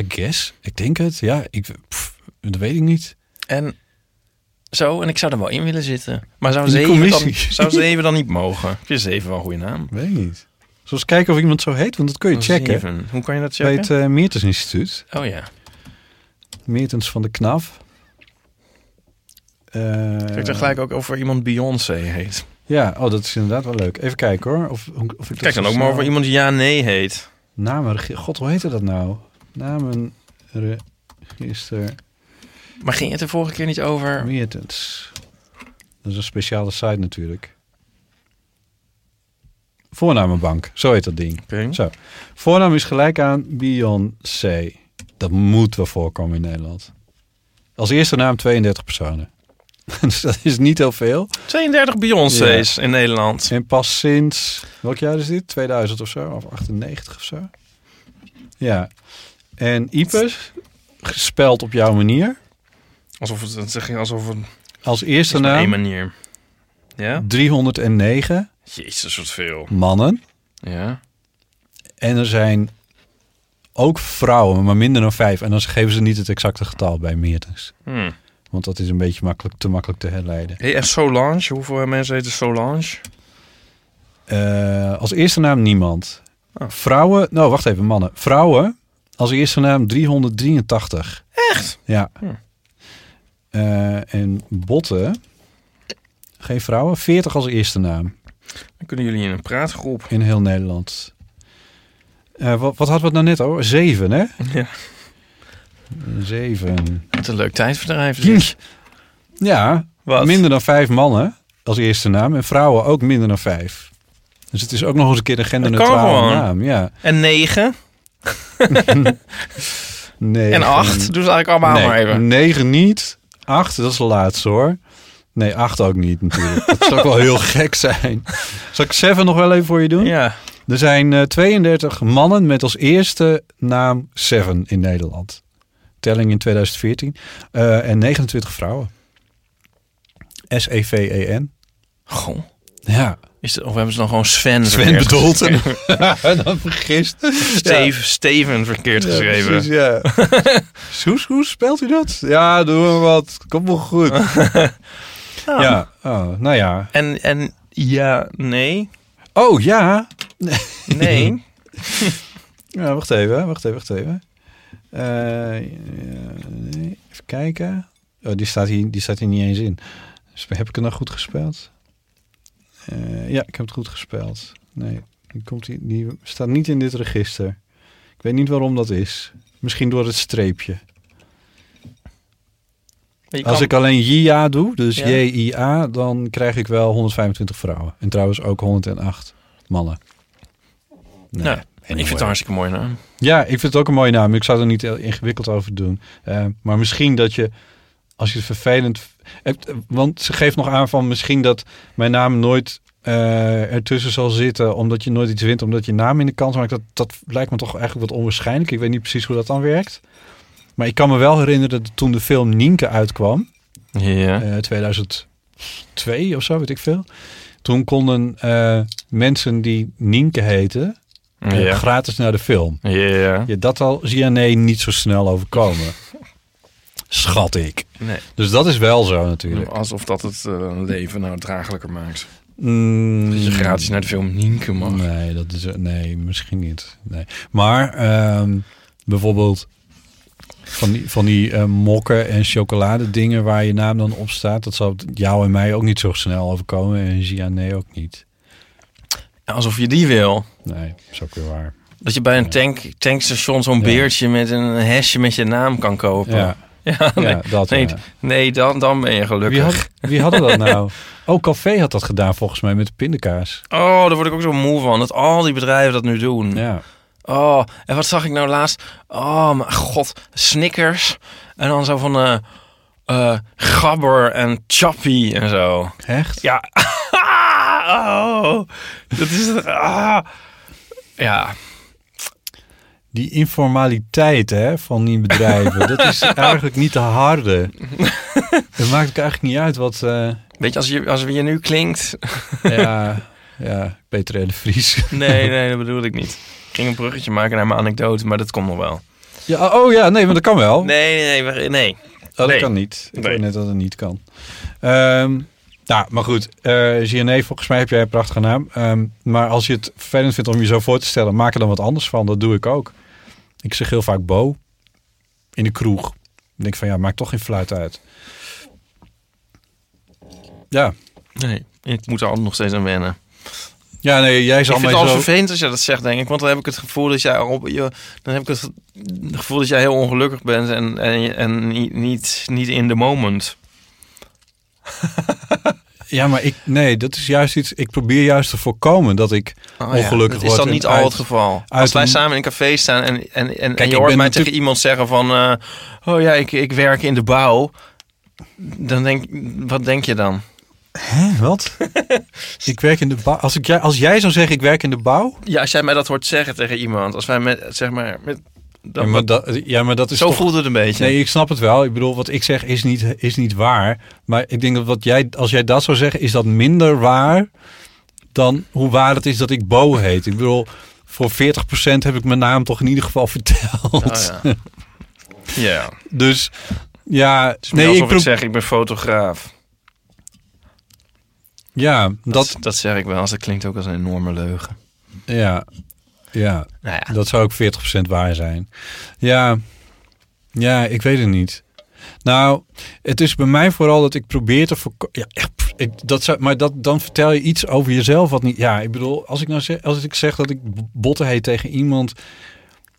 Speaker 1: I guess. Ik denk het, ja. Ik, pff, dat weet ik niet.
Speaker 2: En zo, en ik zou er wel in willen zitten. Maar zou
Speaker 1: In die
Speaker 2: zeven, dan, [LAUGHS]
Speaker 1: commissie.
Speaker 2: zou zeven dan niet mogen? Ik vind zeven wel een goede naam.
Speaker 1: Weet ik niet. Zoals kijken of iemand zo heet, want dat kun je checken.
Speaker 2: Zeven. Hoe kan je dat
Speaker 1: Bij
Speaker 2: checken?
Speaker 1: het eh, Meertens Instituut.
Speaker 2: Oh ja.
Speaker 1: Meertens van de KNAF. Eh,
Speaker 2: Kijk er gelijk ook over iemand Beyoncé heet.
Speaker 1: Ja, oh, dat is inderdaad wel leuk. Even kijken hoor. Of, of ik dus
Speaker 2: Kijk dan ook maar
Speaker 1: maar
Speaker 2: over iemand die ja-nee heet.
Speaker 1: Namenregister. God, hoe heette dat nou? Namenregister
Speaker 2: Maar ging het de vorige keer niet over.
Speaker 1: Meertens. Dat is een speciale site natuurlijk. Voornamenbank, zo heet dat ding.
Speaker 2: Oké.
Speaker 1: Zo. Voornaam is gelijk aan Beyoncé. Dat moet wel voorkomen in Nederland. Als eerste naam 32 personen. [LAUGHS] dus dat is niet heel veel.
Speaker 2: 32 Beyoncé's in Nederland.
Speaker 1: En pas sinds, welk jaar is dit? 2000 of zo? Of 98 of zo? Ja. En Ipes, gespeld op jouw manier.
Speaker 2: Alsof het, het ging alsof het
Speaker 1: Als eerste
Speaker 2: is maar één
Speaker 1: naam
Speaker 2: manier. Ja?
Speaker 1: 309
Speaker 2: Jezus, wat veel.
Speaker 1: mannen.
Speaker 2: Ja.
Speaker 1: En er zijn ook vrouwen, maar minder dan vijf. En dan geven ze niet het exacte getal bij Meertens.
Speaker 2: Hmm.
Speaker 1: Want dat is een beetje makkelijk, te makkelijk te herleiden.
Speaker 2: Hey, en Solange, hoeveel mensen heten Solange?
Speaker 1: Eh, als eerste naam niemand.
Speaker 2: Oh.
Speaker 1: Vrouwen, nou wacht even, mannen. Vrouwen, als eerste naam 383. Echt? Ja.
Speaker 2: Hm.
Speaker 1: Eh, en botten, geen vrouwen, 40 als eerste naam
Speaker 2: Dan kunnen jullie in een praatgroep.
Speaker 1: in heel Nederland. Eh, wat, wat hadden we het nou net over? Zeven, hè?
Speaker 2: Ja.
Speaker 1: Zeven.
Speaker 2: Wat een leuk tijdverdrijf. Dus- is dit.
Speaker 1: Ja,
Speaker 2: Wat?
Speaker 1: Minder dan vijf mannen als eerste naam. En vrouwen ook minder dan vijf. Dus het is ook nog eens een keer een
Speaker 2: Dat kan
Speaker 1: genderneutrale
Speaker 2: gewoon.
Speaker 1: naam. Ja.
Speaker 2: En negen.
Speaker 1: Nee,
Speaker 2: En
Speaker 1: geen-
Speaker 2: acht. Doe ze eigenlijk allemaal
Speaker 1: nee,
Speaker 2: maar even.
Speaker 1: Negen niet. Acht, dat is de laatste hoor. Nee, acht ook niet natuurlijk. dat zou ook wel heel gek zijn. Zal ik seven nog wel even voor je doen?
Speaker 2: Ja.
Speaker 1: Er zijn eh, 32 mannen met als eerste naam seven in Nederland. Telling in 2014. Eh, en 29 vrouwen. E S-E-V-E-N.
Speaker 2: Goh.
Speaker 1: Ja.
Speaker 2: Is het, of hebben ze dan gewoon Sven
Speaker 1: Sven
Speaker 2: verkeerd
Speaker 1: bedoelt
Speaker 2: geschreven?
Speaker 1: hem. [LAUGHS] dan vergist.
Speaker 2: Steve, [LAUGHS] Steven verkeerd geschreven.
Speaker 1: ja.
Speaker 2: [LAUGHS]
Speaker 1: Soes, hoe speelt u dat? Ja, doe maar wat. Komt wel goed.
Speaker 2: [LAUGHS] Ja.
Speaker 1: Ja. Oh, nou ja.
Speaker 2: En, en ja, nee.
Speaker 1: Oh, ja. [LAUGHS]
Speaker 2: Nee.
Speaker 1: ja wacht even, wacht even, wacht even. Eh, ja, nee. Even kijken. Oh, die, staat hier, die staat hier niet eens in. Dus Heb ik het nou goed gespeeld? Eh, ja, ik heb het goed gespeeld. Nee, die, komt hier, die staat niet in dit register. Ik weet niet waarom dat is. Misschien door het streepje.
Speaker 3: Je
Speaker 1: Als
Speaker 3: kan-
Speaker 1: ik alleen JIA doe, dus
Speaker 3: Ja.
Speaker 1: J-I-A, dan krijg ik wel 125 vrouwen. En trouwens ook 108 mannen. Nee,
Speaker 2: Nou, ik Ik vind
Speaker 1: anyway.
Speaker 2: het een hartstikke mooi nou. naam.
Speaker 1: Ja, ik vind het ook een mooie naam. Ik zou er niet heel ingewikkeld over doen. Eh, maar misschien dat je, als je het vervelend hebt, eh, want ze geeft nog aan van misschien dat mijn naam nooit eh, ertussen zal zitten, omdat je nooit iets wint, omdat je naam in de kans maakt. Dat, dat lijkt me toch eigenlijk wat onwaarschijnlijk. Ik weet niet precies hoe dat dan werkt. Maar ik kan me wel herinneren dat toen de film Nienke uitkwam,
Speaker 2: Ja.
Speaker 1: eh, 2002 of zo, weet ik veel. Toen konden eh, mensen die Nienke heten eh,
Speaker 2: Ja.
Speaker 1: gratis naar de film.
Speaker 2: Ja.
Speaker 1: Ja, dat al zie je nee niet zo snel overkomen. Schat ik.
Speaker 2: Nee.
Speaker 1: Dus dat is wel zo natuurlijk.
Speaker 2: Alsof dat het eh, leven nou draaglijker maakt.
Speaker 1: Mm,
Speaker 2: Dat je gratis naar de film Nienke mag.
Speaker 1: Nee, dat is, nee misschien niet. Nee. Maar ehm, bijvoorbeeld van die, van die eh, mokken en chocoladedingen waar je naam dan op staat. Dat zal jou en mij ook niet zo snel overkomen. En Gia nee ook niet.
Speaker 2: Alsof je die wil.
Speaker 1: Nee, dat is ook weer waar.
Speaker 2: Dat je bij een tank, tankstation zo'n
Speaker 1: Ja.
Speaker 2: beertje met een hesje met je naam kan kopen.
Speaker 1: Ja,
Speaker 2: Ja, [LAUGHS] nee.
Speaker 1: ja dat
Speaker 2: nee,
Speaker 1: ja.
Speaker 2: Nee, dan, dan ben je
Speaker 1: Wie,
Speaker 2: gelukkig.
Speaker 1: had, [LAUGHS] wie hadden dat nou? Oh, Café had dat gedaan volgens mij met de pindakaas.
Speaker 2: Oh, daar word ik ook zo moe van. Dat al die bedrijven dat nu doen.
Speaker 1: Ja.
Speaker 2: Oh, en wat zag ik nou laatst? Oh, mijn god. Snickers. En dan zo van... eh eh, gabber en Chappy en zo.
Speaker 1: Echt?
Speaker 2: Ja. [LAUGHS] oh, dat is het. Ah. Ja.
Speaker 1: Die informaliteit hè, van die bedrijven, dat is eigenlijk niet te harde. Het maakt ook eigenlijk niet uit wat. eh,
Speaker 2: Weet je, als, je, als je nu klinkt...
Speaker 1: ja, ja, Peter R. de Vries.
Speaker 2: Nee, nee, dat bedoelde ik niet. Ik ging een bruggetje maken naar mijn anekdote, maar dat komt nog wel.
Speaker 1: Ja, oh ja, nee, maar dat kan wel.
Speaker 2: Nee, nee, nee. we- nee.
Speaker 1: Oh, dat
Speaker 2: nee.
Speaker 1: kan niet. Ik
Speaker 2: Nee.
Speaker 1: weet net dat het niet kan. Ehm, nou, maar goed. eh GNE, volgens mij heb jij een prachtige naam. Ehm, maar als je het vervelend vindt om je zo voor te stellen, maak er dan wat anders van. Dat doe ik ook. Ik zeg heel vaak Bo in de kroeg. Ik denk van ja, maakt toch geen fluit uit. Ja,
Speaker 2: Nee, ik moet er altijd nog steeds aan wennen.
Speaker 1: ja nee, jij
Speaker 2: Ik
Speaker 1: zal
Speaker 2: vind
Speaker 1: mij
Speaker 2: het al
Speaker 1: zo...
Speaker 2: vervelend als je dat zegt, denk ik. Want dan heb ik het gevoel dat jij, op, je, dan heb ik het ge- gevoel dat jij heel ongelukkig bent en, en, en niet, niet, niet in the moment.
Speaker 1: Ja, maar ik... Nee, dat is juist iets... Ik probeer juist te voorkomen dat ik...
Speaker 2: Oh,
Speaker 1: Ongelukkig
Speaker 2: dat is
Speaker 1: wordt
Speaker 2: dan niet
Speaker 1: en
Speaker 2: al
Speaker 1: uit-
Speaker 2: het geval.
Speaker 1: uit
Speaker 2: Als wij
Speaker 1: een-
Speaker 2: samen in een café staan en, en, en, en
Speaker 1: ik
Speaker 2: je
Speaker 1: ben
Speaker 2: hoort mij tegen
Speaker 1: natuurlijk-
Speaker 2: iemand zeggen van... eh, oh ja, ik, ik werk in de bouw. Dan denk, wat denk je dan?
Speaker 1: Hè,
Speaker 2: [LAUGHS]
Speaker 1: wat? ik werk in de bouw. Als, ik, jij- als jij zou zeggen, ik werk in de bouw...
Speaker 2: Ja, als jij mij dat hoort zeggen tegen iemand. Als wij met, zeg maar... Met, dan,
Speaker 1: Ja, maar dat, ja, maar dat is
Speaker 2: zo
Speaker 1: toch...
Speaker 2: voelde het een beetje.
Speaker 1: Nee, ik snap het wel. Ik bedoel, wat ik zeg is niet, is niet waar. Maar ik denk dat wat jij, als jij dat zou zeggen, is dat minder waar dan hoe waar het is dat ik Bo heet. Ik bedoel, voor 40% heb ik mijn naam toch in ieder geval [LAUGHS] verteld. [LAUGHS]
Speaker 2: Oh, ja. ja.
Speaker 1: Dus ja,
Speaker 2: Het is meer
Speaker 1: nee, ik
Speaker 2: alsof ik,
Speaker 1: pro-
Speaker 2: zeg, ik ben fotograaf.
Speaker 1: ja,
Speaker 2: Dat,
Speaker 1: dat,
Speaker 2: dat, zeg ik wel, als dat klinkt ook als een enorme leugen.
Speaker 1: ja, ja,
Speaker 2: Nou ja,
Speaker 1: dat zou ook 40% waar zijn. Ja, ja, ik weet het niet. Nou, het is bij mij vooral dat ik probeer te voorkomen. Ja, echt, pff, ik, dat zou, maar dat, dan vertel je iets over jezelf wat niet. Ja, ik bedoel, als ik nou zeg, als ik zeg dat ik b- botten heet tegen iemand,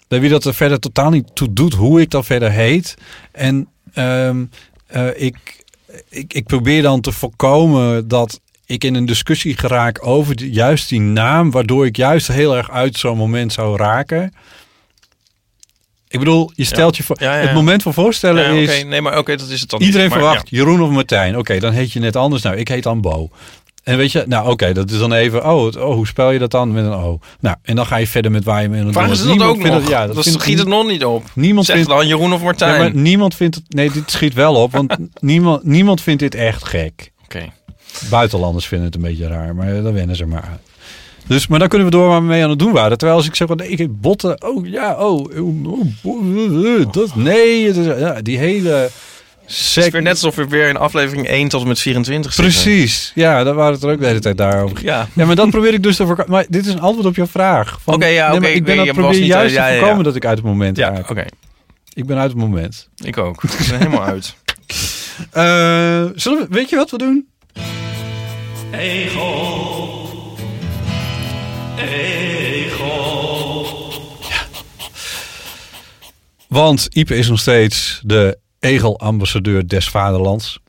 Speaker 1: bij wie dat er verder totaal niet toe doet hoe ik dan verder heet. En ehm, eh, ik, ik, ik probeer dan te voorkomen dat ik in een discussie geraak over die- juist die naam, waardoor ik juist heel erg uit zo'n moment zou raken. Ik bedoel, je stelt je voor.
Speaker 2: Ja, ja, ja.
Speaker 1: Het moment van voorstellen
Speaker 2: Ja,
Speaker 1: is.
Speaker 2: oké, nee, maar oké, dat is het dan.
Speaker 1: Iedereen
Speaker 2: niet. Maar
Speaker 1: verwacht Jeroen of Martijn. Oké, dan heet je net anders. Nou, ik heet dan Bo. En weet je, nou oké, dat is dan even, oh, het- oh, hoe spel je dat dan met een O? Nou, en dan ga je verder met waar je mee aan
Speaker 2: Ja.
Speaker 1: het
Speaker 2: Vragen
Speaker 1: doen
Speaker 2: ze
Speaker 1: bent.
Speaker 2: dat ook
Speaker 1: vindt
Speaker 2: nog?
Speaker 1: het- ja,
Speaker 2: dat
Speaker 1: vindt-
Speaker 2: schiet het nog niet op.
Speaker 1: niemand
Speaker 2: Zeg
Speaker 1: vindt,
Speaker 2: dan Jeroen of
Speaker 1: ja,
Speaker 2: Martijn.
Speaker 1: maar niemand vindt het, nee, dit schiet wel op,
Speaker 2: [LAUGHS]
Speaker 1: want niemand, niemand vindt dit echt gek.
Speaker 2: Oké.
Speaker 1: Buitenlanders vinden het een beetje raar, maar dan wennen ze maar aan. Dus, maar dan kunnen we door waar we mee aan het doen waren. Terwijl als ik zeg, van, nee, ik heb botten. Oh ja, oh. oh, oh, oh, oh, dat, nee, het is- ja, die hele...
Speaker 2: Het is
Speaker 1: Sec,
Speaker 2: weer net alsof we weer in aflevering 1 tot en met 24 zitten.
Speaker 1: Precies, ja, daar waren het er ook de hele tijd daarover.
Speaker 2: Ja.
Speaker 1: Ja, maar dat probeer ik dus te voorkomen. Maar dit is een antwoord op jouw vraag. Van-
Speaker 2: Oké, ja,
Speaker 1: maar
Speaker 2: oké,
Speaker 1: ik ben
Speaker 2: ik-
Speaker 1: aan
Speaker 2: ik
Speaker 1: het
Speaker 2: was
Speaker 1: proberen
Speaker 2: niet- eh,
Speaker 1: juist
Speaker 2: ja, ja,
Speaker 1: te
Speaker 2: ja.
Speaker 1: voorkomen dat ik uit het moment
Speaker 2: Ja,
Speaker 1: raak.
Speaker 2: oké.
Speaker 1: Ik ben uit het moment.
Speaker 2: Ik ook. Ik ben helemaal
Speaker 1: [LAUGHS]
Speaker 2: uit.
Speaker 1: Eh, zullen we, weet je wat we doen? Ego. Ego. Ja. Want Ipe is nog steeds de egelambassadeur des vaderlands.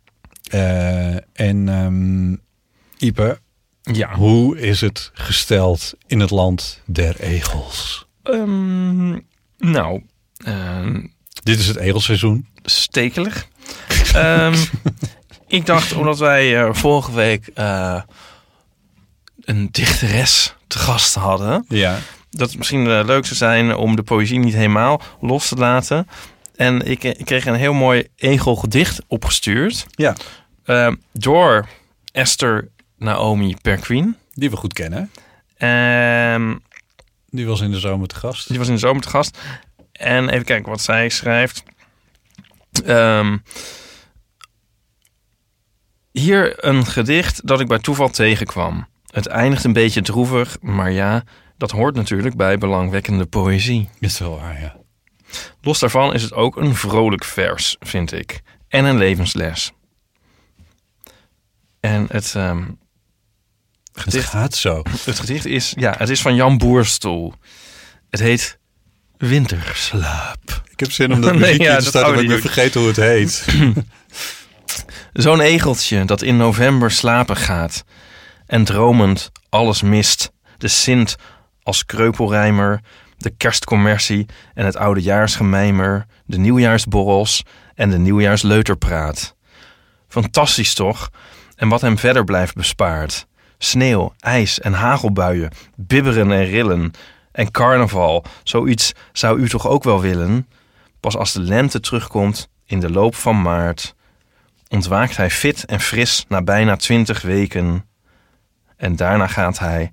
Speaker 1: Eh, en ehm Ipe,
Speaker 2: Ja.
Speaker 1: hoe is het gesteld in het land der egels?
Speaker 2: Ehm, nou, ehm,
Speaker 1: Dit is het egelseizoen.
Speaker 2: stekelig. [LAUGHS] Ehm, ik dacht, omdat wij eh, vorige week eh, een dichteres te gast hadden,
Speaker 1: Ja.
Speaker 2: dat het misschien eh, leuk zou zijn om de poëzie niet helemaal los te laten. En ik, eh, ik kreeg een heel mooi egelgedicht opgestuurd
Speaker 1: ja.
Speaker 2: ehm, door Esther Naomi Perquin.
Speaker 1: Die we goed kennen.
Speaker 2: Ehm
Speaker 1: Die was in de zomer te gast.
Speaker 2: Die was in de zomer te gast. En even kijken wat zij schrijft. Ehm, hier een gedicht dat ik bij toeval tegenkwam. Het eindigt een beetje droevig, maar ja, dat hoort natuurlijk bij belangwekkende poëzie.
Speaker 1: Is wel waar, ja.
Speaker 2: Los daarvan is het ook een vrolijk vers, vind ik. En een levensles. En het, ehm,
Speaker 1: Het
Speaker 2: gedicht,
Speaker 1: gaat zo.
Speaker 2: het gedicht is, ja, het is van Jan Boerstoel. Het heet Winterslaap.
Speaker 1: Ik heb zin om dat
Speaker 2: [LAUGHS] Nee,
Speaker 1: muziekje
Speaker 2: ja,
Speaker 1: te
Speaker 2: dat
Speaker 1: starten, maar ik
Speaker 2: houden
Speaker 1: ben vergeten hoe het heet.
Speaker 2: Zo'n egeltje dat in november slapen gaat en dromend alles mist. De Sint als kreupelrijmer, de kerstcommercie en het oudejaarsgemijmer, de nieuwjaarsborrels en de nieuwjaarsleuterpraat. Fantastisch toch? En wat hem verder blijft bespaard. Sneeuw, ijs en hagelbuien, bibberen en rillen. En carnaval, zoiets zou u toch ook wel willen? Pas als de lente terugkomt in de loop van maart ontwaakt hij fit en fris na bijna twintig weken. En daarna gaat hij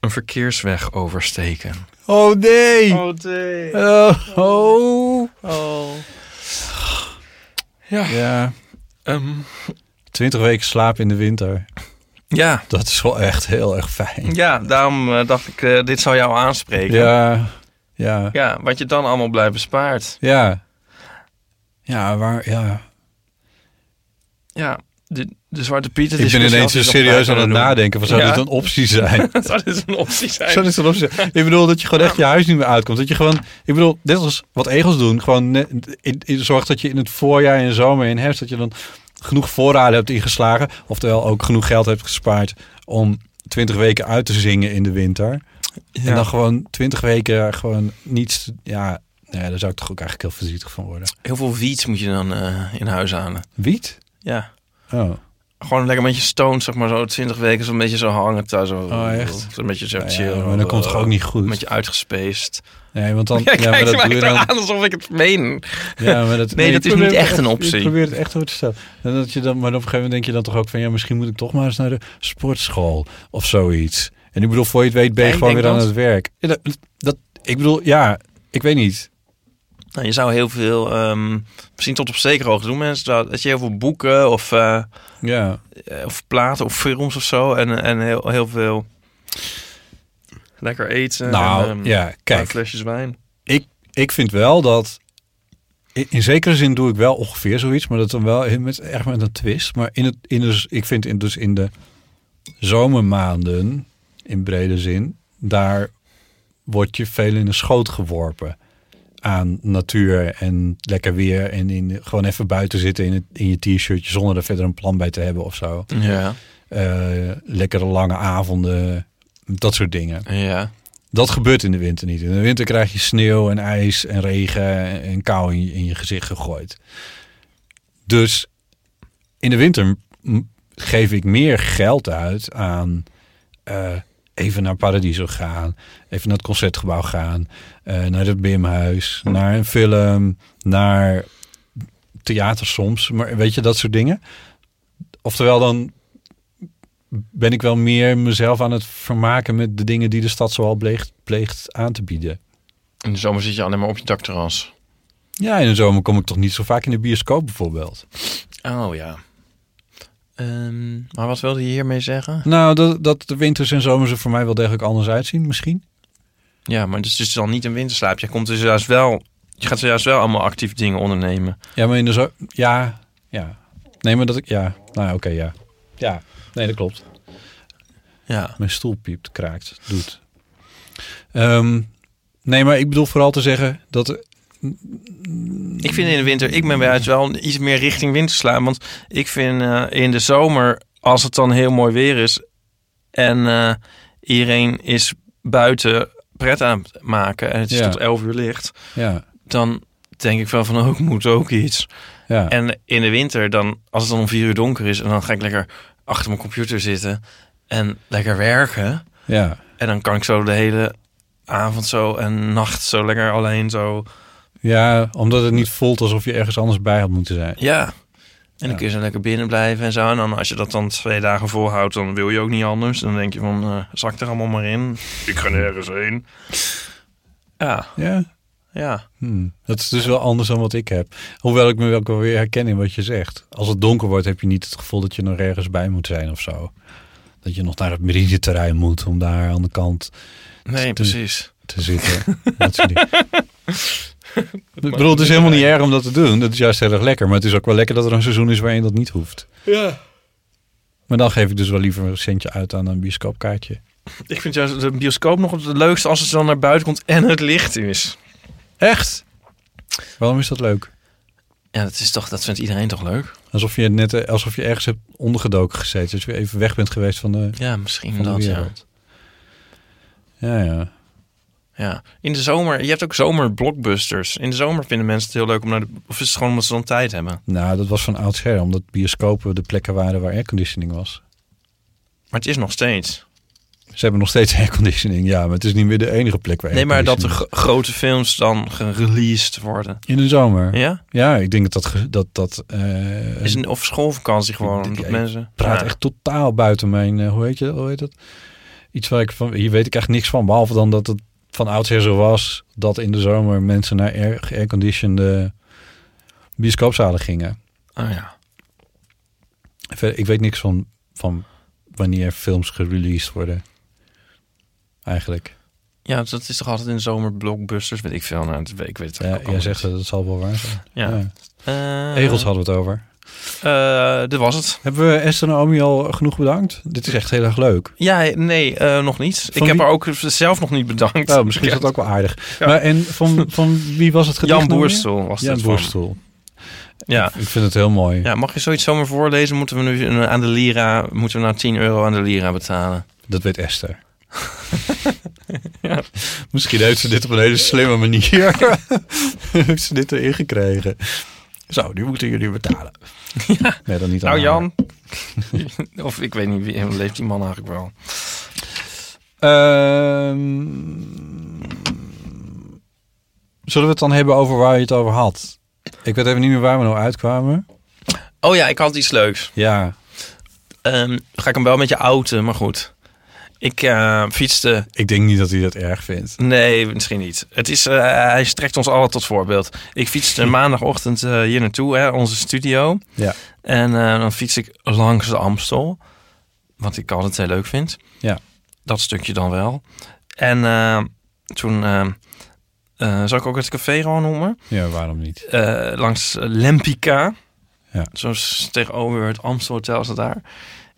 Speaker 2: een verkeersweg oversteken.
Speaker 1: Oh nee!
Speaker 2: [LAUGHS] Oh, nee.
Speaker 1: Oh, oh.
Speaker 2: Ja.
Speaker 1: Ja,
Speaker 2: ehm,
Speaker 1: 20 weken slaap in de winter.
Speaker 2: ja,
Speaker 1: Dat is wel echt heel erg fijn.
Speaker 2: ja, daarom eh, dacht ik, eh, dit zou jou aanspreken.
Speaker 1: Ja, ja,
Speaker 2: Ja, wat je dan allemaal blijft bespaard.
Speaker 1: ja. Ja, waar, ja.
Speaker 2: Ja, de, de Zwarte dus Pieter...
Speaker 1: Ik ben ineens dus
Speaker 2: zo
Speaker 1: serieus aan het nadenken. Van, zou
Speaker 2: Ja.
Speaker 1: dit een optie
Speaker 2: [LAUGHS]
Speaker 1: zijn?
Speaker 2: Zou dit een optie zijn?
Speaker 1: Zou dit een optie zijn? Ik bedoel, dat je gewoon echt je huis niet meer uitkomt. Dat je gewoon, ik bedoel, net als wat egels doen. Gewoon net- in- in- zorg dat je in het voorjaar, en zomer, en herfst, dat je dan genoeg voorraden hebt ingeslagen. Oftewel ook genoeg geld hebt gespaard om 20 weken uit te zingen in de winter. En dan gewoon 20 weken gewoon niets. te- Ja, nee, daar zou ik toch ook eigenlijk heel verdrietig van worden.
Speaker 2: Heel veel wiet moet je dan eh, in huis halen.
Speaker 1: Wiet?
Speaker 2: Ja.
Speaker 1: Oh.
Speaker 2: Gewoon lekker een beetje stoned, zeg maar zo 20 weken, zo'n beetje zo hangen thuis. Zo,
Speaker 1: Oh, echt?
Speaker 2: Zo'n beetje zo
Speaker 1: Nou ja,
Speaker 2: chill.
Speaker 1: maar dat komt toch ook niet goed?
Speaker 2: Een beetje uitgespaced.
Speaker 1: Nee, want dan.
Speaker 2: [LAUGHS] Ja,
Speaker 1: Ja, maar
Speaker 2: kijk ze
Speaker 1: dat doe je
Speaker 2: mij
Speaker 1: dan.
Speaker 2: dan... aan alsof ik het meen.
Speaker 1: Ja, maar dat,
Speaker 2: [LAUGHS] Nee, dat
Speaker 1: je
Speaker 2: is niet
Speaker 1: probeert
Speaker 2: echt
Speaker 1: het
Speaker 2: een optie.
Speaker 1: Je probeert het echt door te stellen. En dat je dan, maar op een gegeven moment denk je dan toch ook van... ja, misschien moet ik toch maar eens naar de sportschool of zoiets. En ik bedoel, voor je het weet ben je
Speaker 2: Ja, ik
Speaker 1: gewoon weer
Speaker 2: denk
Speaker 1: aan
Speaker 2: dat.
Speaker 1: het werk. Ja, dat, dat- ik bedoel, ja, ik weet niet.
Speaker 2: Nou, je zou heel veel, ehm, misschien tot op zekere hoogte doen mensen, dat dat je heel veel boeken of, eh,
Speaker 1: Ja,
Speaker 2: eh, of platen of films of zo en, en heel, heel veel lekker eten.
Speaker 1: nou,
Speaker 2: en, ehm, een
Speaker 1: ja,
Speaker 2: paar
Speaker 1: kijk.
Speaker 2: flesjes wijn.
Speaker 1: ik, ik vind wel dat. In in zekere zin doe ik wel ongeveer zoiets, maar dat dan wel in- met, echt met een twist. Maar in het, in de, ik vind in, dus in de zomermaanden, in brede zin, daar word je veel in de schoot geworpen aan natuur en lekker weer. En in, gewoon even buiten zitten in, het, in je t-shirtje zonder er verder een plan bij te hebben of zo.
Speaker 2: Ja,
Speaker 1: Eh, lekkere lange avonden, dat soort dingen.
Speaker 2: ja.
Speaker 1: Dat gebeurt in de winter niet. In de winter krijg je sneeuw en ijs en regen en kou in je, in je gezicht gegooid. Dus in de winter m- geef ik meer geld uit aan eh, even naar Paradiso gaan, even naar het concertgebouw gaan, eh, naar het Bimhuis, naar een film, naar theater soms, maar weet je dat soort dingen. Oftewel dan ben ik wel meer mezelf aan het vermaken met de dingen die de stad zoal pleegt, pleegt aan te bieden.
Speaker 2: In de zomer zit je alleen maar op je dakterras.
Speaker 1: Ja, in de zomer kom ik toch niet zo vaak in de bioscoop bijvoorbeeld.
Speaker 2: Oh ja. Ehm, maar wat wilde je hiermee zeggen?
Speaker 1: Nou, dat, dat de winters en zomers er voor mij wel degelijk anders uitzien misschien.
Speaker 2: Ja, maar het is dus dan niet een winterslaap. Je komt dus juist wel, je gaat juist wel allemaal actief dingen ondernemen.
Speaker 1: Ja, maar in de zo Ja, ja. Nee, maar dat ik... Ja, nou oké, ja. Ja, nee, dat klopt.
Speaker 2: Ja.
Speaker 1: Mijn stoel piept, kraakt, doet. Ehm, nee, maar ik bedoel vooral te zeggen dat,
Speaker 2: Ik vind in de winter, ik ben bij het wel iets meer richting winter slaan. Want ik vind eh, in de zomer, als het dan heel mooi weer is en eh, iedereen is buiten pret aan het maken en het is
Speaker 1: Ja.
Speaker 2: tot 11 uur licht,
Speaker 1: Ja,
Speaker 2: dan denk ik wel van ook moet ook iets.
Speaker 1: ja.
Speaker 2: En in de winter, dan, als het dan om 4 uur donker is en dan ga ik lekker achter mijn computer zitten en lekker werken.
Speaker 1: ja.
Speaker 2: En dan kan ik zo de hele avond zo en nacht zo lekker alleen zo
Speaker 1: Ja, omdat het niet voelt alsof je ergens anders bij had moeten zijn.
Speaker 2: Ja. En
Speaker 1: Ja.
Speaker 2: dan kun je zo lekker binnen blijven en zo. En dan als je dat dan twee dagen volhoudt, dan wil je ook niet anders. Dan denk je van, eh, zak er allemaal maar in. Ik ga nergens heen. Ja,
Speaker 1: Ja.
Speaker 2: ja.
Speaker 1: Hm. Dat is dus wel anders dan wat ik heb. Hoewel ik me wel ook weer herken in wat je zegt. Als het donker wordt, heb je niet het gevoel dat je nog ergens bij moet zijn of zo. Dat je nog naar het merideterrein moet om daar aan de kant
Speaker 2: Nee,
Speaker 1: Dus-
Speaker 2: precies.
Speaker 1: te [LAUGHS] zitten. dat soort dingen. Ik bedoel, het is helemaal niet erg om dat te doen. Dat is juist heel erg lekker. Maar het is ook wel lekker dat er een seizoen is waarin dat niet hoeft.
Speaker 2: Ja.
Speaker 1: Maar dan geef ik dus wel liever een centje uit aan een bioscoopkaartje.
Speaker 2: Ik vind juist de bioscoop nog het leukste als het dan naar buiten komt en het licht is.
Speaker 1: Echt? Waarom is dat leuk?
Speaker 2: Ja, dat, is toch, dat vindt iedereen toch leuk?
Speaker 1: Alsof je net eh, alsof je ergens hebt ondergedoken gezeten. Dus weer even weg bent geweest van de,
Speaker 2: Ja, misschien
Speaker 1: van de
Speaker 2: dat, ja.
Speaker 1: wereld. Ja, ja.
Speaker 2: ja. In de zomer, je hebt ook zomerblockbusters. In de zomer vinden mensen het heel leuk om naar de... Of is het gewoon omdat ze dan tijd hebben?
Speaker 1: Nou, dat was van oudsher. Omdat bioscopen de plekken waren waar airconditioning was.
Speaker 2: Maar het is nog steeds.
Speaker 1: Ze hebben nog steeds [LAUGHS] airconditioning. Ja, maar het is niet meer de enige plek waar
Speaker 2: Nee, maar dat de
Speaker 1: airconditioning
Speaker 2: gro- grote films dan gereleased worden.
Speaker 1: is. In de zomer.
Speaker 2: Ja?
Speaker 1: Ja, ik denk dat dat... ge- dat, dat eh,
Speaker 2: Is een, of schoolvakantie
Speaker 1: Ik-
Speaker 2: gewoon.
Speaker 1: ik-
Speaker 2: Dat
Speaker 1: ik
Speaker 2: mensen.
Speaker 1: praat
Speaker 2: Ja.
Speaker 1: echt totaal buiten mijn, eh, hoe heet je, hoe heet dat? Iets waar ik van, hier weet ik echt niks van, behalve dan dat het van oudsher zo was dat in de zomer mensen naar air, airconditioned bioscoopzalen gingen.
Speaker 2: Oh ja.
Speaker 1: Verder, Ik weet niks van, van wanneer films gereleased worden. Eigenlijk.
Speaker 2: Ja, dat is toch altijd in de zomer blockbusters? Weet ik veel. Nou, dat weet- ik weet het
Speaker 1: Ja,
Speaker 2: ook
Speaker 1: jij
Speaker 2: al
Speaker 1: zegt
Speaker 2: niet.
Speaker 1: dat, dat zal wel waar zijn.
Speaker 2: Ja. Eh,
Speaker 1: Egels hadden we het over.
Speaker 2: eh, dit was het.
Speaker 1: Hebben we Esther en Omi al genoeg bedankt? Dit is echt heel erg leuk.
Speaker 2: Ja, nee, eh, nog niet. ik
Speaker 1: wie?
Speaker 2: heb haar ook zelf nog niet bedankt.
Speaker 1: Nou, misschien is dat ook wel aardig.
Speaker 2: Ja.
Speaker 1: Maar en van, van wie was het gedicht?
Speaker 2: Jan
Speaker 1: nou weer?
Speaker 2: Boerstel was
Speaker 1: Jan
Speaker 2: dat van.
Speaker 1: Boerstel.
Speaker 2: Ja.
Speaker 1: Ik vind het heel mooi.
Speaker 2: ja, mag je zoiets zomaar voorlezen? Moeten we nu een- aan de lira, moeten we nou 10 euro aan de lira betalen?
Speaker 1: Dat weet Esther.
Speaker 2: [LAUGHS]
Speaker 1: Misschien heeft ze dit op een hele slimme manier.
Speaker 2: [LAUGHS]
Speaker 1: heeft ze dit erin gekregen. Zo, nu moeten jullie betalen. Nee, dan niet
Speaker 2: Nou,
Speaker 1: aan
Speaker 2: Jan. [LAUGHS] of ik weet niet, wie leeft die man eigenlijk wel?
Speaker 1: haar. Ehm, zullen we het dan hebben over waar je het over had? Ik weet even niet meer waar we nou uitkwamen.
Speaker 2: Oh ja, ik had iets leuks.
Speaker 1: Ja,
Speaker 2: Ehm, ga ik hem wel met je outen, maar goed. Ik eh, fietste.
Speaker 1: ik denk niet dat hij dat erg vindt.
Speaker 2: Nee, misschien niet. Het is, eh, hij strekt ons allen tot voorbeeld. Ik
Speaker 1: [LAUGHS]
Speaker 2: fietste maandagochtend eh, hier naartoe, hè, onze studio.
Speaker 1: Ja.
Speaker 2: En eh, dan fiets ik langs de Amstel. Wat ik altijd heel leuk vind.
Speaker 1: Ja.
Speaker 2: Dat stukje dan wel. En eh, toen. eh eh, zal ik ook het café gewoon noemen?
Speaker 1: Ja, waarom niet?
Speaker 2: eh, langs eh, Lempica.
Speaker 1: Ja.
Speaker 2: Zo s- tegenover het Amstel Hotel zat daar.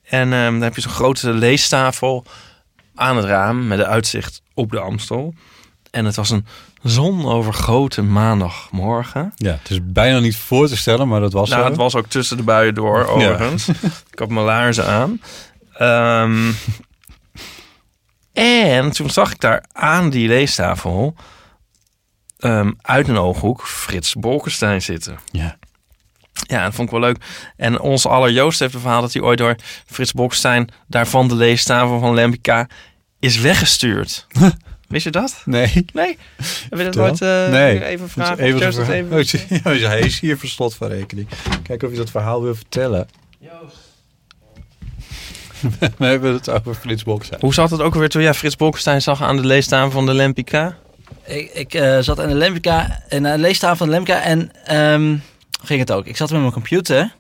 Speaker 2: En ehm daar heb je zo'n grote leestafel aan het raam met een uitzicht op de Amstel. En het was een zonovergoten maandagmorgen.
Speaker 1: Ja, het is bijna niet voor te stellen, maar dat was
Speaker 2: nou,
Speaker 1: zo.
Speaker 2: het was ook tussen de buien door, overigens. Ik had mijn laarzen aan. Ehm, en toen zag ik daar aan die leestafel... ehm, uit een ooghoek Frits Bolkestein zitten.
Speaker 1: Ja.
Speaker 2: Ja, dat vond ik wel leuk. En onze aller Joost heeft een verhaal dat hij ooit door Frits Bokstein, daarvan de leestafel van Lempica, is
Speaker 1: [LAUGHS]
Speaker 2: weggestuurd. Wist je dat?
Speaker 1: Nee.
Speaker 2: Nee? Heb je dat
Speaker 1: Vertel.
Speaker 2: nooit eh,
Speaker 1: Nee. Moet
Speaker 2: even
Speaker 1: je
Speaker 2: vragen? Even Joost,
Speaker 1: zo'n
Speaker 2: dat
Speaker 1: verhaal-
Speaker 2: even...
Speaker 1: Moet je- oh, Ja, hij is hier voor slot van rekening. Kijk of je dat verhaal wil vertellen. [LAUGHS] We hebben het over Frits Boksen.
Speaker 2: Hoe zat het ook alweer toen jij Frits Bolkestein zag aan de leestafel van de Lempica?
Speaker 4: Ik, ik eh, zat aan de Lemka, en aan de leestafel van de Lemka en ehm, ging het ook. Ik zat met mijn computer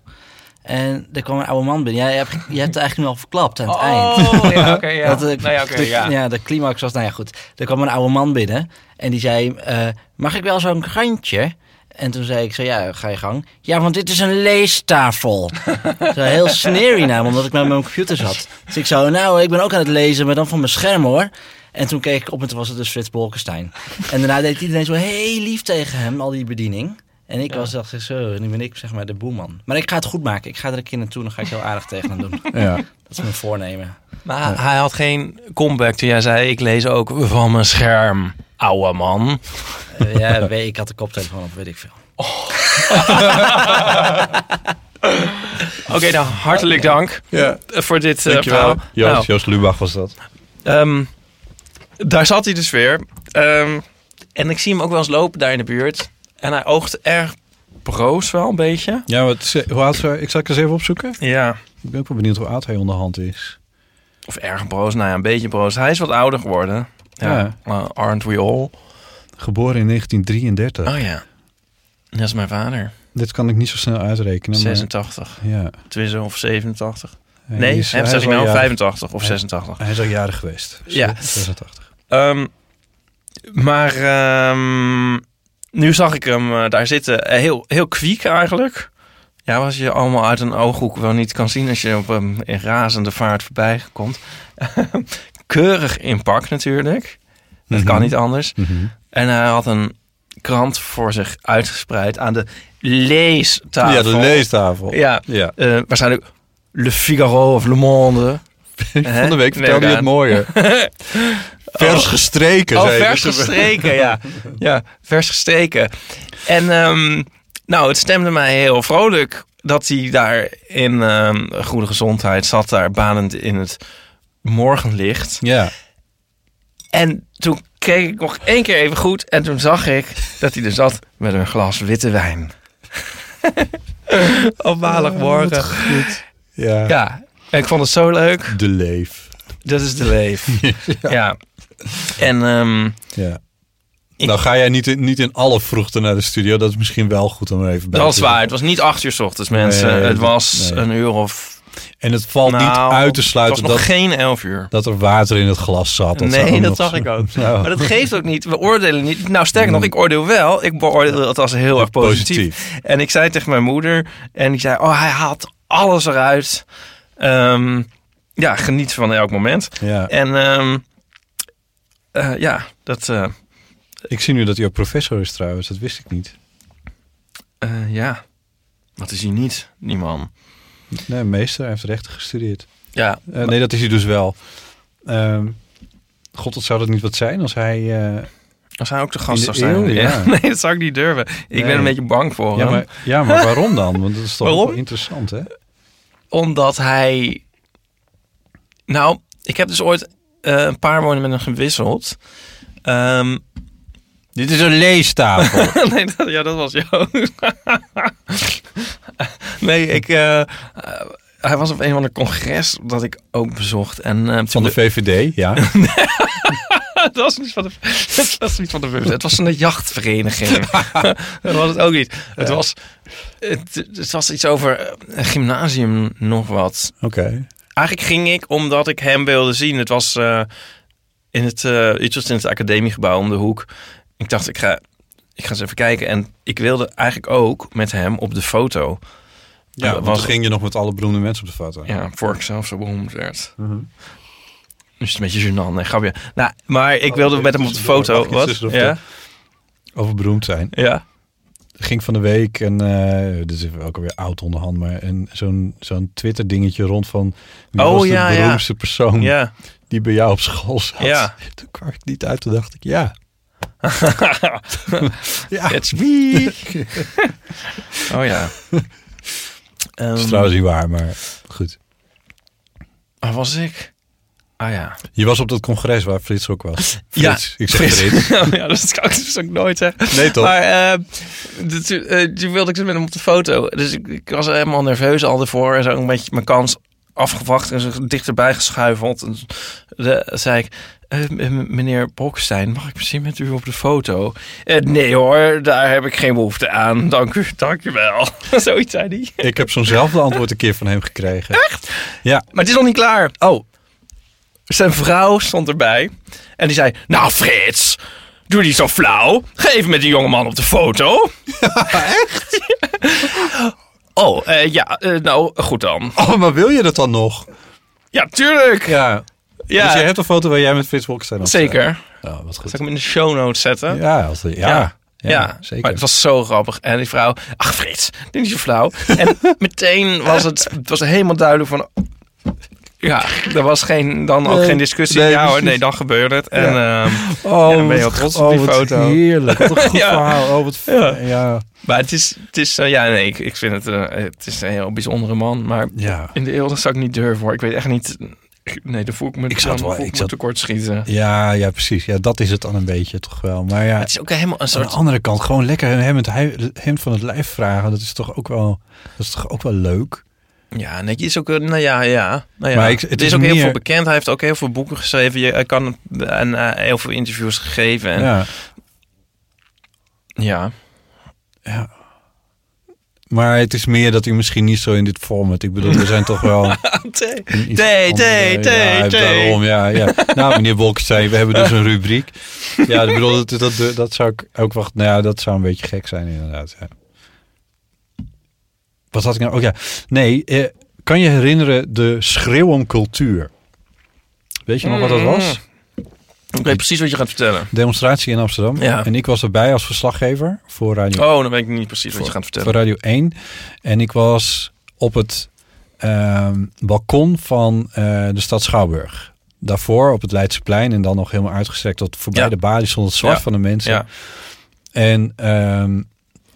Speaker 4: en er kwam een oude man binnen. Ja, je, hebt, je hebt het eigenlijk nu al verklapt aan het eind.
Speaker 2: Oh, ja, oké, ja.
Speaker 4: [LAUGHS] Dat, eh, de, ja, de climax was, nou ja, goed. Er kwam een oude man binnen en die zei, eh, mag ik wel zo'n krantje? En toen zei ik zo, ja, ga je gang. Ja, want dit is een leestafel. [LAUGHS] zo heel sneery naam, omdat ik met mijn computer zat. Dus ik zo, nou, ik ben ook aan het lezen, maar dan van mijn scherm hoor. En toen keek ik op en toen was het dus Frits Bolkestein. en daarna deed iedereen zo heel lief tegen hem, al die bediening. En ik
Speaker 5: Ja.
Speaker 4: was dacht ik zo, nu ben ik zeg maar de boeman. Maar ik ga het goed maken. Ik ga er een keer naartoe en dan ga ik heel aardig tegen hem doen.
Speaker 1: Ja.
Speaker 4: Dat is mijn voornemen.
Speaker 2: Maar hij had geen comeback toen jij zei, ik lees ook van mijn scherm, ouwe man.
Speaker 4: Eh, ja, weet, ik had de koptelefoon op, weet ik veel.
Speaker 2: Oké, nou hartelijk dank
Speaker 1: ja.
Speaker 2: eh, voor dit eh,
Speaker 1: Oh, Dankjewel.
Speaker 2: verhaal.
Speaker 1: Joost,
Speaker 2: Nou,
Speaker 1: Joost Lubach was dat.
Speaker 2: ehm, daar zat hij dus weer. Ehm, en ik zie hem ook wel eens lopen daar in de buurt. En hij oogt erg broos wel een beetje.
Speaker 1: Ja, wat, ze- hoe oud ze, ik zal het eens even opzoeken.
Speaker 2: Ja.
Speaker 1: Ik ben ook wel benieuwd hoe oud hij onderhand is.
Speaker 2: Of erg broos, nou ja, een beetje broos. Hij is wat ouder geworden. Ja.
Speaker 1: Ja.
Speaker 2: Uh, aren't we all?
Speaker 1: Geboren in 1933.
Speaker 2: Oh ja. Dat is mijn vader.
Speaker 1: Dit kan ik niet zo snel uitrekenen. maar-
Speaker 2: 86.
Speaker 1: ja.
Speaker 2: Tenminste, of 87.
Speaker 1: Hij
Speaker 2: Nee,
Speaker 1: is-
Speaker 2: hè,
Speaker 1: hij
Speaker 2: zeg
Speaker 1: is
Speaker 2: ik
Speaker 1: al
Speaker 2: nou
Speaker 1: jarig.
Speaker 2: 85 of
Speaker 1: Hij-
Speaker 2: 86.
Speaker 1: Hij is al jaren geweest. Dus
Speaker 2: Ja.
Speaker 1: 86.
Speaker 2: Ehm, maar ehm, nu zag ik hem eh, daar zitten. Eh, heel, heel kwiek eigenlijk. Ja, was je allemaal uit een ooghoek wel niet kan zien als je op hem in razende vaart voorbij komt. [LAUGHS] Keurig in pak natuurlijk. Dat kan
Speaker 1: Mhm.
Speaker 2: niet anders.
Speaker 1: Mhm.
Speaker 2: En hij had een krant voor zich uitgespreid aan de leestafel.
Speaker 1: Ja, de leestafel.
Speaker 2: Nou, Ja, [LAUGHS]
Speaker 1: Ja.
Speaker 2: eh, waarschijnlijk Le Figaro of Le Monde.
Speaker 1: Van de week
Speaker 2: Nee,
Speaker 1: vertelde je
Speaker 2: Daan.
Speaker 1: het
Speaker 2: [LAUGHS]
Speaker 1: mooie. Vers
Speaker 2: Oh.
Speaker 1: gestreken.
Speaker 2: Oh,
Speaker 1: zei Dus- je.
Speaker 2: vers gestreken, ja. [LAUGHS] Ja, vers gestreken. En ehm, nou, het stemde mij heel vrolijk dat hij daar in ehm, goede gezondheid zat, daar banend in het morgenlicht.
Speaker 1: Ja.
Speaker 2: En toen keek ik nog één keer even goed en toen zag ik dat hij er zat met een glas witte wijn. [LAUGHS] Op maandagmorgen.
Speaker 1: Goed. Ja.
Speaker 2: Ja, en ik vond het zo leuk.
Speaker 1: De leef.
Speaker 2: Dat is de leef. [LAUGHS] ja. En ehm,
Speaker 1: Ja.
Speaker 2: Ik-
Speaker 1: Nou ga jij niet in, niet in alle vroegte naar de studio. Dat is misschien wel goed om er even bij
Speaker 2: dat is
Speaker 1: te zeggen.
Speaker 2: waar. Het was niet acht uur 's ochtends, mensen.
Speaker 1: Nee,
Speaker 2: het
Speaker 1: dat-
Speaker 2: was
Speaker 1: nee.
Speaker 2: een uur of...
Speaker 1: En het valt
Speaker 2: nou,
Speaker 1: niet uit te sluiten
Speaker 2: Het was
Speaker 1: dat,
Speaker 2: nog geen elf uur.
Speaker 1: dat er water in het glas zat. zou
Speaker 2: nee, dat
Speaker 1: nog
Speaker 2: zag ik
Speaker 1: zo- [LAUGHS]
Speaker 2: ook.
Speaker 1: Nou, Mm.
Speaker 2: Maar dat geeft ook niet. We oordelen niet. Nou, sterker nog, ik oordeel wel. Ik beoordeel het als heel erg positief. En ik zei tegen mijn moeder. En ik zei, oh, hij haalt alles eruit. Ehm, ja, geniet van elk moment.
Speaker 1: Ja.
Speaker 2: En ehm, eh, ja, dat... eh,
Speaker 1: Ik zie nu dat hij ook professor is trouwens. Dat wist ik niet.
Speaker 2: eh, ja, wat is hij niet, die man?
Speaker 1: Nee, meester. Hij heeft rechten gestudeerd.
Speaker 2: Ja,
Speaker 1: Eh, nee, dat is hij dus wel. Ehm, God, dat zou dat niet wat zijn als hij... eh,
Speaker 2: Als hij ook de gast
Speaker 1: In
Speaker 2: zou
Speaker 1: de
Speaker 2: zijn. [LAUGHS]
Speaker 1: eeuw,
Speaker 2: ja.
Speaker 1: ja.
Speaker 2: Nee, dat zou ik niet durven. Ik
Speaker 1: Nee.
Speaker 2: ben een beetje bang voor
Speaker 1: ja,
Speaker 2: hem.
Speaker 1: maar, ja, maar waarom dan? Want dat is toch
Speaker 2: Waarom?
Speaker 1: wel interessant, hè?
Speaker 2: Omdat hij... Nou, ik heb dus ooit eh, een paar woorden met hem gewisseld. Ehm, [LAUGHS]
Speaker 1: Dit is een leestafel.
Speaker 2: nee, dat, ja, dat was Joost. [LAUGHS] nee, ik... eh, eh, hij was op een van de congres dat ik ook bezocht. En, eh,
Speaker 1: [LAUGHS]
Speaker 2: toen
Speaker 1: Van de VVD,
Speaker 2: [LAUGHS]
Speaker 1: ja.
Speaker 2: Het was niet van de, [LAUGHS] het was niet van de bus. Het was een
Speaker 1: [LAUGHS]
Speaker 2: jachtvereniging. dat was het ook niet. Het, was, het, het was iets over eh, een gymnasium, nog wat.
Speaker 1: Oké.
Speaker 2: Eigenlijk ging ik omdat ik hem wilde zien. Het was eh, in het, eh, iets was in het academiegebouw om de hoek. Ik dacht, ik ga, ik ga eens even kijken. En ik wilde eigenlijk ook met hem op de foto.
Speaker 1: Ja, want
Speaker 2: was-
Speaker 1: toen ging je nog met alle beroemde mensen op de foto.
Speaker 2: Ja, voor ik zelf zo beroemd werd.
Speaker 1: Mhm.
Speaker 2: Dus het is een beetje gênant. Nee, grapje. Nou, maar ik wilde
Speaker 1: even
Speaker 2: met hem op de
Speaker 1: tussendoor.
Speaker 2: foto.
Speaker 1: Mag ik iets
Speaker 2: Wat?
Speaker 1: tussendoor
Speaker 2: Ja?
Speaker 1: Over beroemd zijn.
Speaker 2: Ja.
Speaker 1: Ging van de week en eh, dit is ook alweer oud onderhand, maar en zo'n zo'n Twitter dingetje rond van wie
Speaker 2: Oh,
Speaker 1: was
Speaker 2: ja,
Speaker 1: de
Speaker 2: ja.
Speaker 1: beroemdste persoon
Speaker 2: Ja.
Speaker 1: die bij jou op school zat.
Speaker 2: Ja.
Speaker 1: [LAUGHS] Toen kwam ik niet uit, toen dacht ik ja. ja.
Speaker 2: It's me. oh ja.
Speaker 1: Dat is
Speaker 2: Ehm,
Speaker 1: trouwens niet waar, maar goed.
Speaker 2: waar was ik? Ah ja.
Speaker 1: Je was op dat congres waar Frits ook was.
Speaker 2: Ja,
Speaker 1: Frits, ik zeg Frits.
Speaker 2: [LAUGHS] ja, dat kan ik dus ook nooit zeggen.
Speaker 1: Nee toch?
Speaker 2: Maar eh, de- toen eh, toen wilde ik dus met hem op de foto. Dus ik, ik was helemaal nerveus al ervoor. En zo een beetje mijn kans afgewacht en zo dichterbij geschuifeld. En de, zei ik, eh, m- meneer Bolkestein, mag ik misschien met u op de foto? Eh, nee hoor, daar heb ik geen behoefte aan. Dank u, dank u wel. [LAUGHS] Zoiets zei hij.
Speaker 1: Ik heb zo'nzelfde antwoord een keer van hem gekregen.
Speaker 2: Maar het is nog niet klaar. Oh. Zijn vrouw stond erbij. En die zei: Nou, Frits, doe die zo flauw. Ga even met die jongeman op de foto.
Speaker 1: [LAUGHS]
Speaker 2: Echt? [LAUGHS] oh, eh, ja, eh, nou goed dan.
Speaker 1: Oh, maar wil je dat dan nog?
Speaker 2: Ja, tuurlijk.
Speaker 1: Ja.
Speaker 2: Ja.
Speaker 1: Dus je hebt een foto waar jij met Frits Bolkestein op staat.
Speaker 2: Zeker.
Speaker 1: Nou, wat
Speaker 2: Zal ik
Speaker 1: goed.
Speaker 2: hem in de show notes zetten?
Speaker 1: Ja, als, ja, ja,
Speaker 2: Ja.
Speaker 1: zeker.
Speaker 2: maar het was zo grappig. En die vrouw, ach Frits, dit is niet zo
Speaker 1: [LAUGHS]
Speaker 2: flauw. En meteen was het, het was helemaal duidelijk van... Ja, er was geen, dan ook
Speaker 1: Nee,
Speaker 2: geen discussie.
Speaker 1: nee,
Speaker 2: ja hoor,
Speaker 1: precies.
Speaker 2: nee, dan gebeurde het. En ehm,
Speaker 1: Oh,
Speaker 2: Ja, dan ben je
Speaker 1: wat-
Speaker 2: al trots op die
Speaker 1: oh, wat
Speaker 2: foto.
Speaker 1: heerlijk.
Speaker 2: [LAUGHS]
Speaker 1: Wat een goed
Speaker 2: Ja.
Speaker 1: verhaal. Oh, wat f-
Speaker 2: Ja.
Speaker 1: ja.
Speaker 2: Maar het is, het is eh, ja, nee, ik, ik vind het, eh, het is een heel bijzondere man. Maar
Speaker 1: Ja.
Speaker 2: in de eeuwig zou ik niet durven hoor. Ik weet echt niet, nee, daar voel ik me,
Speaker 1: Ik zou het
Speaker 2: dan
Speaker 1: wel-
Speaker 2: voel
Speaker 1: ik
Speaker 2: me
Speaker 1: zou-
Speaker 2: tekort schieten.
Speaker 1: Ja, ja, precies. Ja, dat is het dan een beetje toch wel. Maar ja,
Speaker 2: Het is ook helemaal een
Speaker 1: aan de
Speaker 2: soort...
Speaker 1: andere kant, gewoon lekker hem, het hui- hem van het lijf vragen. Dat is toch ook wel, dat is toch ook wel leuk?
Speaker 2: Ja, nee, het is ook, eh, nou ja, ja. Nou ja.
Speaker 1: Maar ik- het
Speaker 2: het,
Speaker 1: is
Speaker 2: is ook heel
Speaker 1: meer-
Speaker 2: veel bekend. Hij heeft ook heel veel boeken geschreven. Je, hij kan, en eh, heel veel interviews gegeven. En,
Speaker 1: Ja.
Speaker 2: Ja.
Speaker 1: ja. Maar het is meer dat u misschien niet zo in dit format. Ik bedoel, we zijn toch
Speaker 2: [LAUGHS]
Speaker 1: wel.
Speaker 2: Thee,
Speaker 1: een iets
Speaker 2: thee,
Speaker 1: andere-
Speaker 2: thee,
Speaker 1: ja,
Speaker 2: thee,
Speaker 1: daarom,
Speaker 2: thee.
Speaker 1: ja, ja. Nou, meneer Bolkestein, we hebben dus een rubriek. Ja, ik bedoel, dat, dat, dat zou ik ook wacht. Nou ja, dat zou een beetje gek zijn, inderdaad. Ja. Wat had ik nou? Oh ja, nee. eh, kan je herinneren de schreeuw om cultuur? Weet je nog
Speaker 2: Mm.
Speaker 1: wat dat was?
Speaker 2: Ik weet precies wat je gaat vertellen.
Speaker 1: Demonstratie in Amsterdam.
Speaker 2: Ja.
Speaker 1: En ik was erbij als verslaggever voor Radio
Speaker 2: Oh, dan weet ik niet precies wat je
Speaker 1: voor
Speaker 2: gaat vertellen.
Speaker 1: Radio 1. En ik was op het ehm, balkon van eh, de stad Schouwburg. Daarvoor op het Leidseplein en dan nog helemaal uitgestrekt tot voorbij
Speaker 2: Ja.
Speaker 1: de balie stond het zwart
Speaker 2: Ja.
Speaker 1: van de mensen.
Speaker 2: Ja.
Speaker 1: En ehm,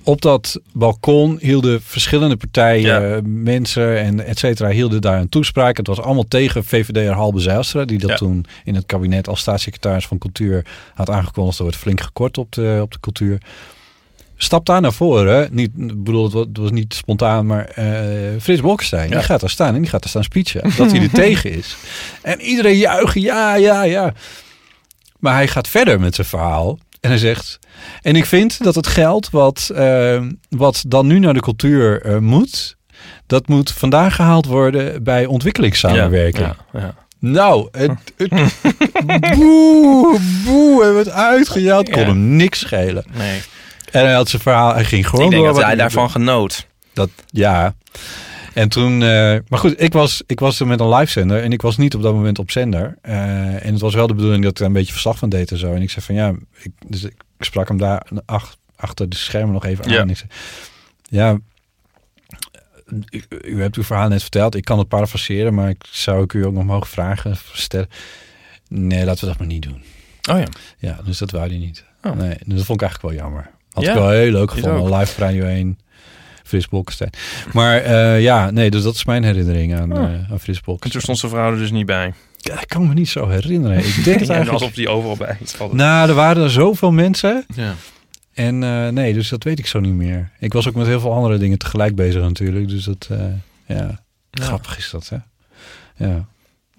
Speaker 1: op dat balkon hielden verschillende partijen,
Speaker 2: Ja.
Speaker 1: eh, mensen en et cetera, hielden daar een toespraak. Het was allemaal tegen VVD'er Halbe Zijlstra, die dat
Speaker 2: Ja.
Speaker 1: toen in het kabinet als staatssecretaris van cultuur had aangekondigd. Er wordt flink gekort op de, op de cultuur. Stap daar naar voren. Niet, ik bedoel, het was, het was niet spontaan, maar eh Frits Bolkestein, die gaat daar staan en die gaat daar staan speechen. Dat
Speaker 2: [LAUGHS]
Speaker 1: hij er tegen is. En iedereen juichen, ja, ja, ja. Maar hij gaat verder met zijn verhaal. En hij zegt, en ik vind dat het geld wat, eh, wat dan nu naar de cultuur eh, moet, dat moet vandaag gehaald worden bij ontwikkelingssamenwerking.
Speaker 2: Ja, ja.
Speaker 1: Nou, het, het,
Speaker 2: [LAUGHS]
Speaker 1: boe, boe, hebben we het uitgejaagd. Kon
Speaker 2: Ja.
Speaker 1: hem niks schelen.
Speaker 2: Nee.
Speaker 1: En hij had zijn verhaal, hij ging gewoon
Speaker 2: Ik denk
Speaker 1: door
Speaker 2: dat
Speaker 1: wat
Speaker 2: hij daarvan genoot.
Speaker 1: dat, ja. En toen, eh, maar goed, ik was, ik was er met een live zender en ik was niet op dat moment op zender. Eh, en het was wel de bedoeling dat ik daar een beetje verslag van deed en zo. En ik zei van ja, ik, dus ik sprak hem daar ach- achter de schermen nog even aan.
Speaker 2: Ja.
Speaker 1: En ik zei, ja, u, u hebt uw verhaal net verteld. Ik kan het parafraseren, maar ik zou ik u ook nog mogen vragen. Stellen. Nee, laten we dat maar niet doen.
Speaker 2: Oh ja.
Speaker 1: Ja, dus dat wou hij niet.
Speaker 2: Oh.
Speaker 1: Nee, dus dat vond ik eigenlijk wel jammer. Had
Speaker 2: Ja,
Speaker 1: ik wel heel leuk
Speaker 2: ook.
Speaker 1: gevonden. Live op Radio 1, Frits Bolkestein. Maar eh, ja, nee, dus dat is mijn herinnering aan,
Speaker 2: Oh.
Speaker 1: eh, aan Frits
Speaker 2: En toen
Speaker 1: Bolkestein.
Speaker 2: stond zijn vrouw er dus niet bij.
Speaker 1: Ja, dat kan me niet zo herinneren. [LAUGHS] Ik denk het
Speaker 2: En alsof
Speaker 1: eigenlijk...
Speaker 2: die overal bij is.
Speaker 1: Nou, er waren er zoveel mensen.
Speaker 2: Ja.
Speaker 1: En eh, nee, dus dat weet ik zo niet meer. Ik was ook met heel veel andere dingen tegelijk bezig natuurlijk. Dus dat, eh, ja, grappig is dat, hè? Ja.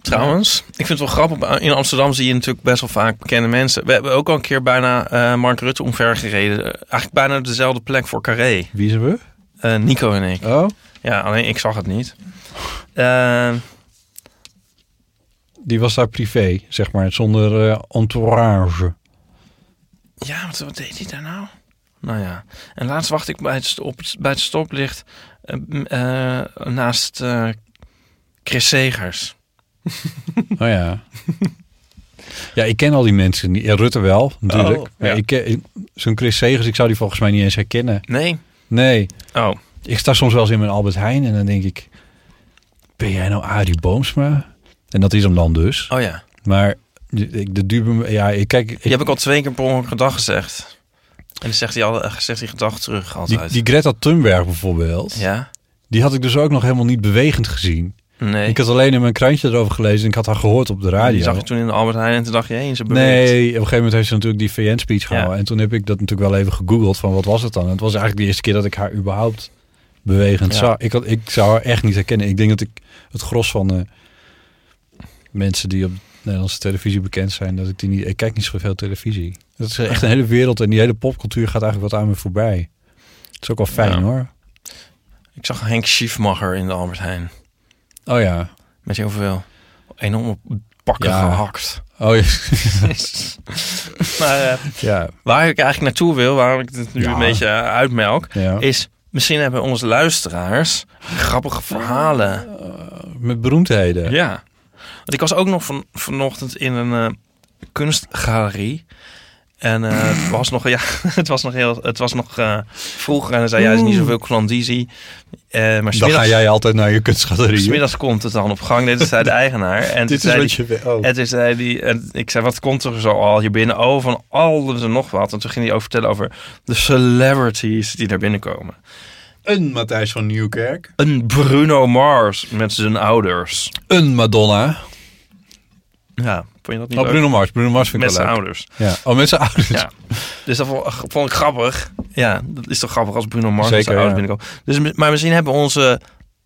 Speaker 2: Trouwens, ik vind het wel grappig. In Amsterdam zie je natuurlijk best wel vaak bekende mensen. We hebben ook al een keer bijna eh, Mark Rutte omvergereden. Eh, Eigenlijk bijna op dezelfde plek voor Carré.
Speaker 1: Wie zijn we?
Speaker 2: Eh, Nico en ik.
Speaker 1: Oh,
Speaker 2: Ja, alleen ik zag het niet. Eh,
Speaker 1: die was daar privé, zeg maar, zonder eh, entourage.
Speaker 2: ja, wat, wat deed hij daar nou? Nou ja. En laatst wacht ik bij het, stop, bij het stoplicht eh, m, eh, naast eh, Chris Segers.
Speaker 1: Oh ja. ja, ik ken al die mensen. niet. Ja, Rutte wel, natuurlijk.
Speaker 2: Oh,
Speaker 1: maar
Speaker 2: ja.
Speaker 1: ik ken, ik- zo'n Chris Segers, ik zou die volgens mij niet eens herkennen.
Speaker 2: Nee.
Speaker 1: Nee,
Speaker 2: Oh.
Speaker 1: ik sta soms wel eens in mijn Albert Heijn en dan denk ik... Ben jij nou Arie Boomsma? En dat is hem dan dus.
Speaker 2: Oh ja.
Speaker 1: Maar ik, de dupe... Ja, ik kijk... ik-
Speaker 2: Die heb ik al twee keer per ongeluk gedag gezegd. En dan zegt hij, al, eh, zegt hij gedag terug
Speaker 1: die,
Speaker 2: altijd.
Speaker 1: die Greta Thunberg bijvoorbeeld,
Speaker 2: Ja?
Speaker 1: die had ik dus ook nog helemaal niet bewegend gezien.
Speaker 2: Nee.
Speaker 1: Ik had alleen in mijn krantje erover gelezen en ik had haar gehoord op de radio.
Speaker 2: Die zag je toen in de Albert Heijn en toen dacht je, hé, ze beweegt.
Speaker 1: Nee, op een gegeven moment heeft ze natuurlijk die VN-speech gehouden.
Speaker 2: Ja.
Speaker 1: En toen heb ik dat natuurlijk wel even gegoogeld van wat was het dan. En het was eigenlijk de eerste keer dat ik haar überhaupt bewegend
Speaker 2: Ja.
Speaker 1: zag. Ik, had, ik zou haar echt niet herkennen. Ik denk dat ik het gros van de mensen die op Nederlandse televisie bekend zijn, dat ik die niet... Ik kijk niet zoveel televisie. Dat is echt een hele wereld en die hele popcultuur gaat eigenlijk wat aan me voorbij. Het is ook wel fijn
Speaker 2: Ja.
Speaker 1: hoor.
Speaker 2: Ik zag Henk Schiefmacher in de Albert Heijn.
Speaker 1: Oh ja.
Speaker 2: Met heel veel enorme pakken
Speaker 1: Ja.
Speaker 2: gehakt. [LAUGHS]
Speaker 1: Oh ja. [LAUGHS]
Speaker 2: maar eh,
Speaker 1: ja.
Speaker 2: waar ik eigenlijk naartoe wil, waarom ik dit nu
Speaker 1: Ja.
Speaker 2: een beetje eh, uitmelk,
Speaker 1: ja.
Speaker 2: is misschien hebben onze luisteraars grappige verhalen.
Speaker 1: Met beroemdheden.
Speaker 2: Ja. Want ik was ook nog van, vanochtend in een eh, kunstgalerie. En eh,
Speaker 1: [LAUGHS]
Speaker 2: het was nog, ja, [LAUGHS] het was nog heel, het was nog eh, vroeger. En dan zei jij, is niet zoveel klandizie. Eh maar
Speaker 1: Dan ga
Speaker 2: smiddags,
Speaker 1: jij altijd naar je kunstgalerie.
Speaker 2: smiddags komt het dan op gang. Dit is de eigenaar. En toen
Speaker 1: Dit is
Speaker 2: zei
Speaker 1: wat
Speaker 2: die-
Speaker 1: je wil. Oh.
Speaker 2: en toen zei die, en ik zei, wat komt er zo al hier binnen? Oh, van alles en nog wat. En toen ging hij over vertellen over de celebrities die daar binnenkomen.
Speaker 1: Een Matthijs van Nieuwkerk.
Speaker 2: Een Bruno Mars met zijn ouders.
Speaker 1: Een Madonna.
Speaker 2: Ja, vond je dat niet
Speaker 1: Oh,
Speaker 2: leuk?
Speaker 1: Bruno Mars. Bruno Mars vind ik
Speaker 2: Met
Speaker 1: wel
Speaker 2: zijn
Speaker 1: leuk.
Speaker 2: ouders.
Speaker 1: Ja. Oh, met zijn ouders.
Speaker 2: Ja. Dus dat vond, vond ik grappig. Ja, dat is toch grappig als Bruno Mars met zijn
Speaker 1: Zeker,
Speaker 2: ouders binnenkomt. Dus, mi- maar misschien hebben onze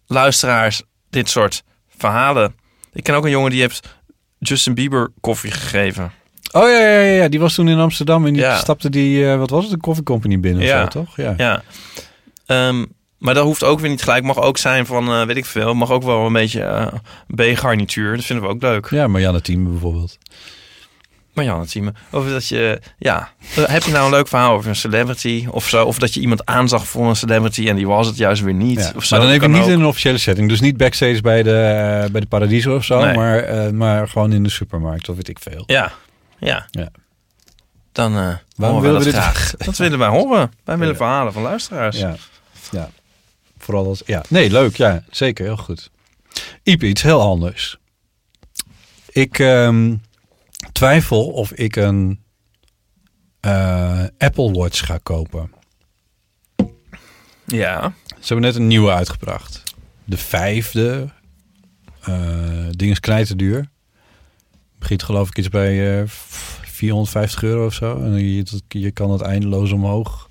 Speaker 2: luisteraars dit soort verhalen. Ik ken ook een jongen die heeft Justin Bieber koffie gegeven.
Speaker 1: Oh ja, ja, ja, ja, die was toen in Amsterdam en die
Speaker 2: Ja.
Speaker 1: stapte die, eh, wat was het, de coffee company binnen
Speaker 2: Ja.
Speaker 1: of zo, toch? Ja.
Speaker 2: Ja. Ehm, maar dat hoeft ook weer niet gelijk. Mag ook zijn van, eh, weet ik veel. Mag ook wel een beetje eh, B-garnituur. Dat vinden we ook leuk.
Speaker 1: Ja, Marianne Thieme bijvoorbeeld.
Speaker 2: Maar ja, het zien we. Of dat je, ja. Eh, Heb je nou een leuk verhaal over een celebrity of zo? Of dat je iemand aanzag voor een celebrity en die was het juist weer niet.
Speaker 1: Ja.
Speaker 2: Of zo.
Speaker 1: Maar dan
Speaker 2: Dat
Speaker 1: even
Speaker 2: kan
Speaker 1: niet
Speaker 2: ook.
Speaker 1: in een officiële setting. Dus niet backstage bij de, eh, bij de Paradiso of zo,
Speaker 2: Nee.
Speaker 1: maar, eh, maar gewoon in de supermarkt of weet ik veel.
Speaker 2: Ja, ja.
Speaker 1: Ja.
Speaker 2: Dan eh
Speaker 1: Waarom
Speaker 2: horen
Speaker 1: willen
Speaker 2: we
Speaker 1: we dit? [LAUGHS]
Speaker 2: dat graag. Dat willen wij horen. Wij willen
Speaker 1: Ja.
Speaker 2: verhalen van luisteraars.
Speaker 1: Ja. ja. Vooral als, ja. Nee, leuk, ja. Zeker, heel goed. Ipe, iets heel anders. Ik ehm, twijfel of ik een eh, Apple Watch ga kopen.
Speaker 2: Ja.
Speaker 1: Ze hebben net een nieuwe uitgebracht. De vijfde. eh ding is knijterduur. Begint geloof ik iets bij eh, 450 euro of zo. En je, dat- je kan het eindeloos omhoog.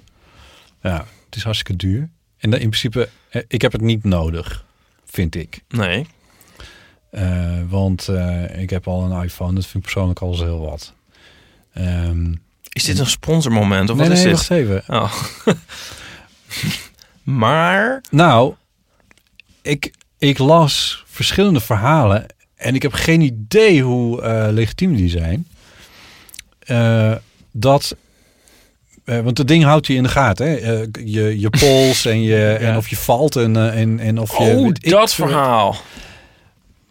Speaker 1: Ja, het is hartstikke duur. En dan in principe, eh, ik heb het niet nodig, vind ik.
Speaker 2: Nee.
Speaker 1: Eh, want eh, ik heb al een iPhone. Dat vind ik persoonlijk al eens heel wat. Ehm,
Speaker 2: Is dit een sponsormoment of
Speaker 1: nee,
Speaker 2: wat is
Speaker 1: nee,
Speaker 2: dit?
Speaker 1: wacht even.
Speaker 2: Oh. [LAUGHS] maar
Speaker 1: Nou, ik, ik las verschillende verhalen en ik heb geen idee hoe eh, legitiem die zijn. Eh, dat, eh, want dat ding houdt je in de gaten, hè? Eh, je, je pols en,
Speaker 2: [LAUGHS]
Speaker 1: je, en of je valt en, eh, en, en of je... eh,
Speaker 2: oh,
Speaker 1: weet ik
Speaker 2: dat
Speaker 1: veel.
Speaker 2: verhaal.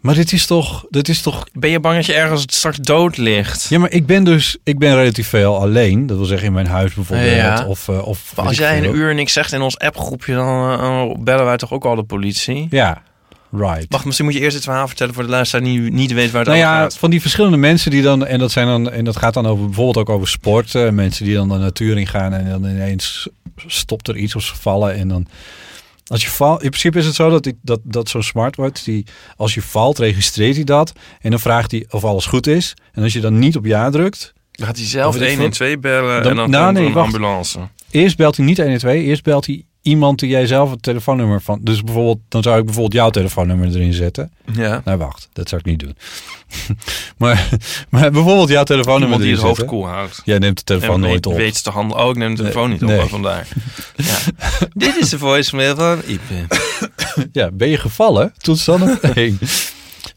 Speaker 1: Maar dit is toch, dit is toch
Speaker 2: Ben je bang dat je ergens straks dood ligt?
Speaker 1: Ja, maar ik ben dus, ik ben relatief veel alleen. Dat wil zeggen in mijn huis bijvoorbeeld.
Speaker 2: Ja.
Speaker 1: Of, eh, of
Speaker 2: Maar
Speaker 1: weet
Speaker 2: als
Speaker 1: ik
Speaker 2: jij
Speaker 1: veel.
Speaker 2: een uur niks zegt in ons appgroepje, dan eh, dan bellen wij toch ook al de politie?
Speaker 1: Ja, right.
Speaker 2: Wacht, misschien moet je eerst dit verhaal vertellen voor de luisteraar die niet weet waar het
Speaker 1: nou
Speaker 2: over
Speaker 1: ja,
Speaker 2: gaat.
Speaker 1: van die verschillende mensen die dan, en dat, zijn dan, en dat gaat dan over bijvoorbeeld ook over sport. eh, mensen die dan de natuur in gaan en dan ineens stopt er iets of ze vallen. En dan, als je valt, in principe is het zo dat, die- dat, dat zo'n smartwatch, die, als je valt, registreert hij dat. En dan vraagt hij of alles goed is. En als je dan niet op ja drukt,
Speaker 2: Dan gaat hij zelf
Speaker 1: Of weet ik
Speaker 2: 1
Speaker 1: veel.
Speaker 2: en 2 bellen
Speaker 1: Dan-
Speaker 2: en dan
Speaker 1: nou,
Speaker 2: komt er
Speaker 1: nee,
Speaker 2: een
Speaker 1: wacht.
Speaker 2: ambulance.
Speaker 1: eerst belt hij niet 112, eerst belt hij iemand die jij zelf het telefoonnummer van. Dus bijvoorbeeld, dan zou ik bijvoorbeeld jouw telefoonnummer erin zetten.
Speaker 2: Ja,
Speaker 1: Nou, wacht, dat zou ik niet doen. [LAUGHS] maar, maar bijvoorbeeld jouw telefoonnummer
Speaker 2: iemand die
Speaker 1: erin
Speaker 2: het hoofd
Speaker 1: zetten.
Speaker 2: koel houdt.
Speaker 1: Jij neemt de telefoon
Speaker 2: En
Speaker 1: nooit
Speaker 2: weet,
Speaker 1: op.
Speaker 2: weet te handelen. Oh, ik neem de telefoon niet op,
Speaker 1: nee.
Speaker 2: oh, vandaar. [LAUGHS] ja. Dit is de voicemail van Ipe.
Speaker 1: Ja, ben je gevallen? Toets dan
Speaker 2: [LAUGHS]
Speaker 1: op één.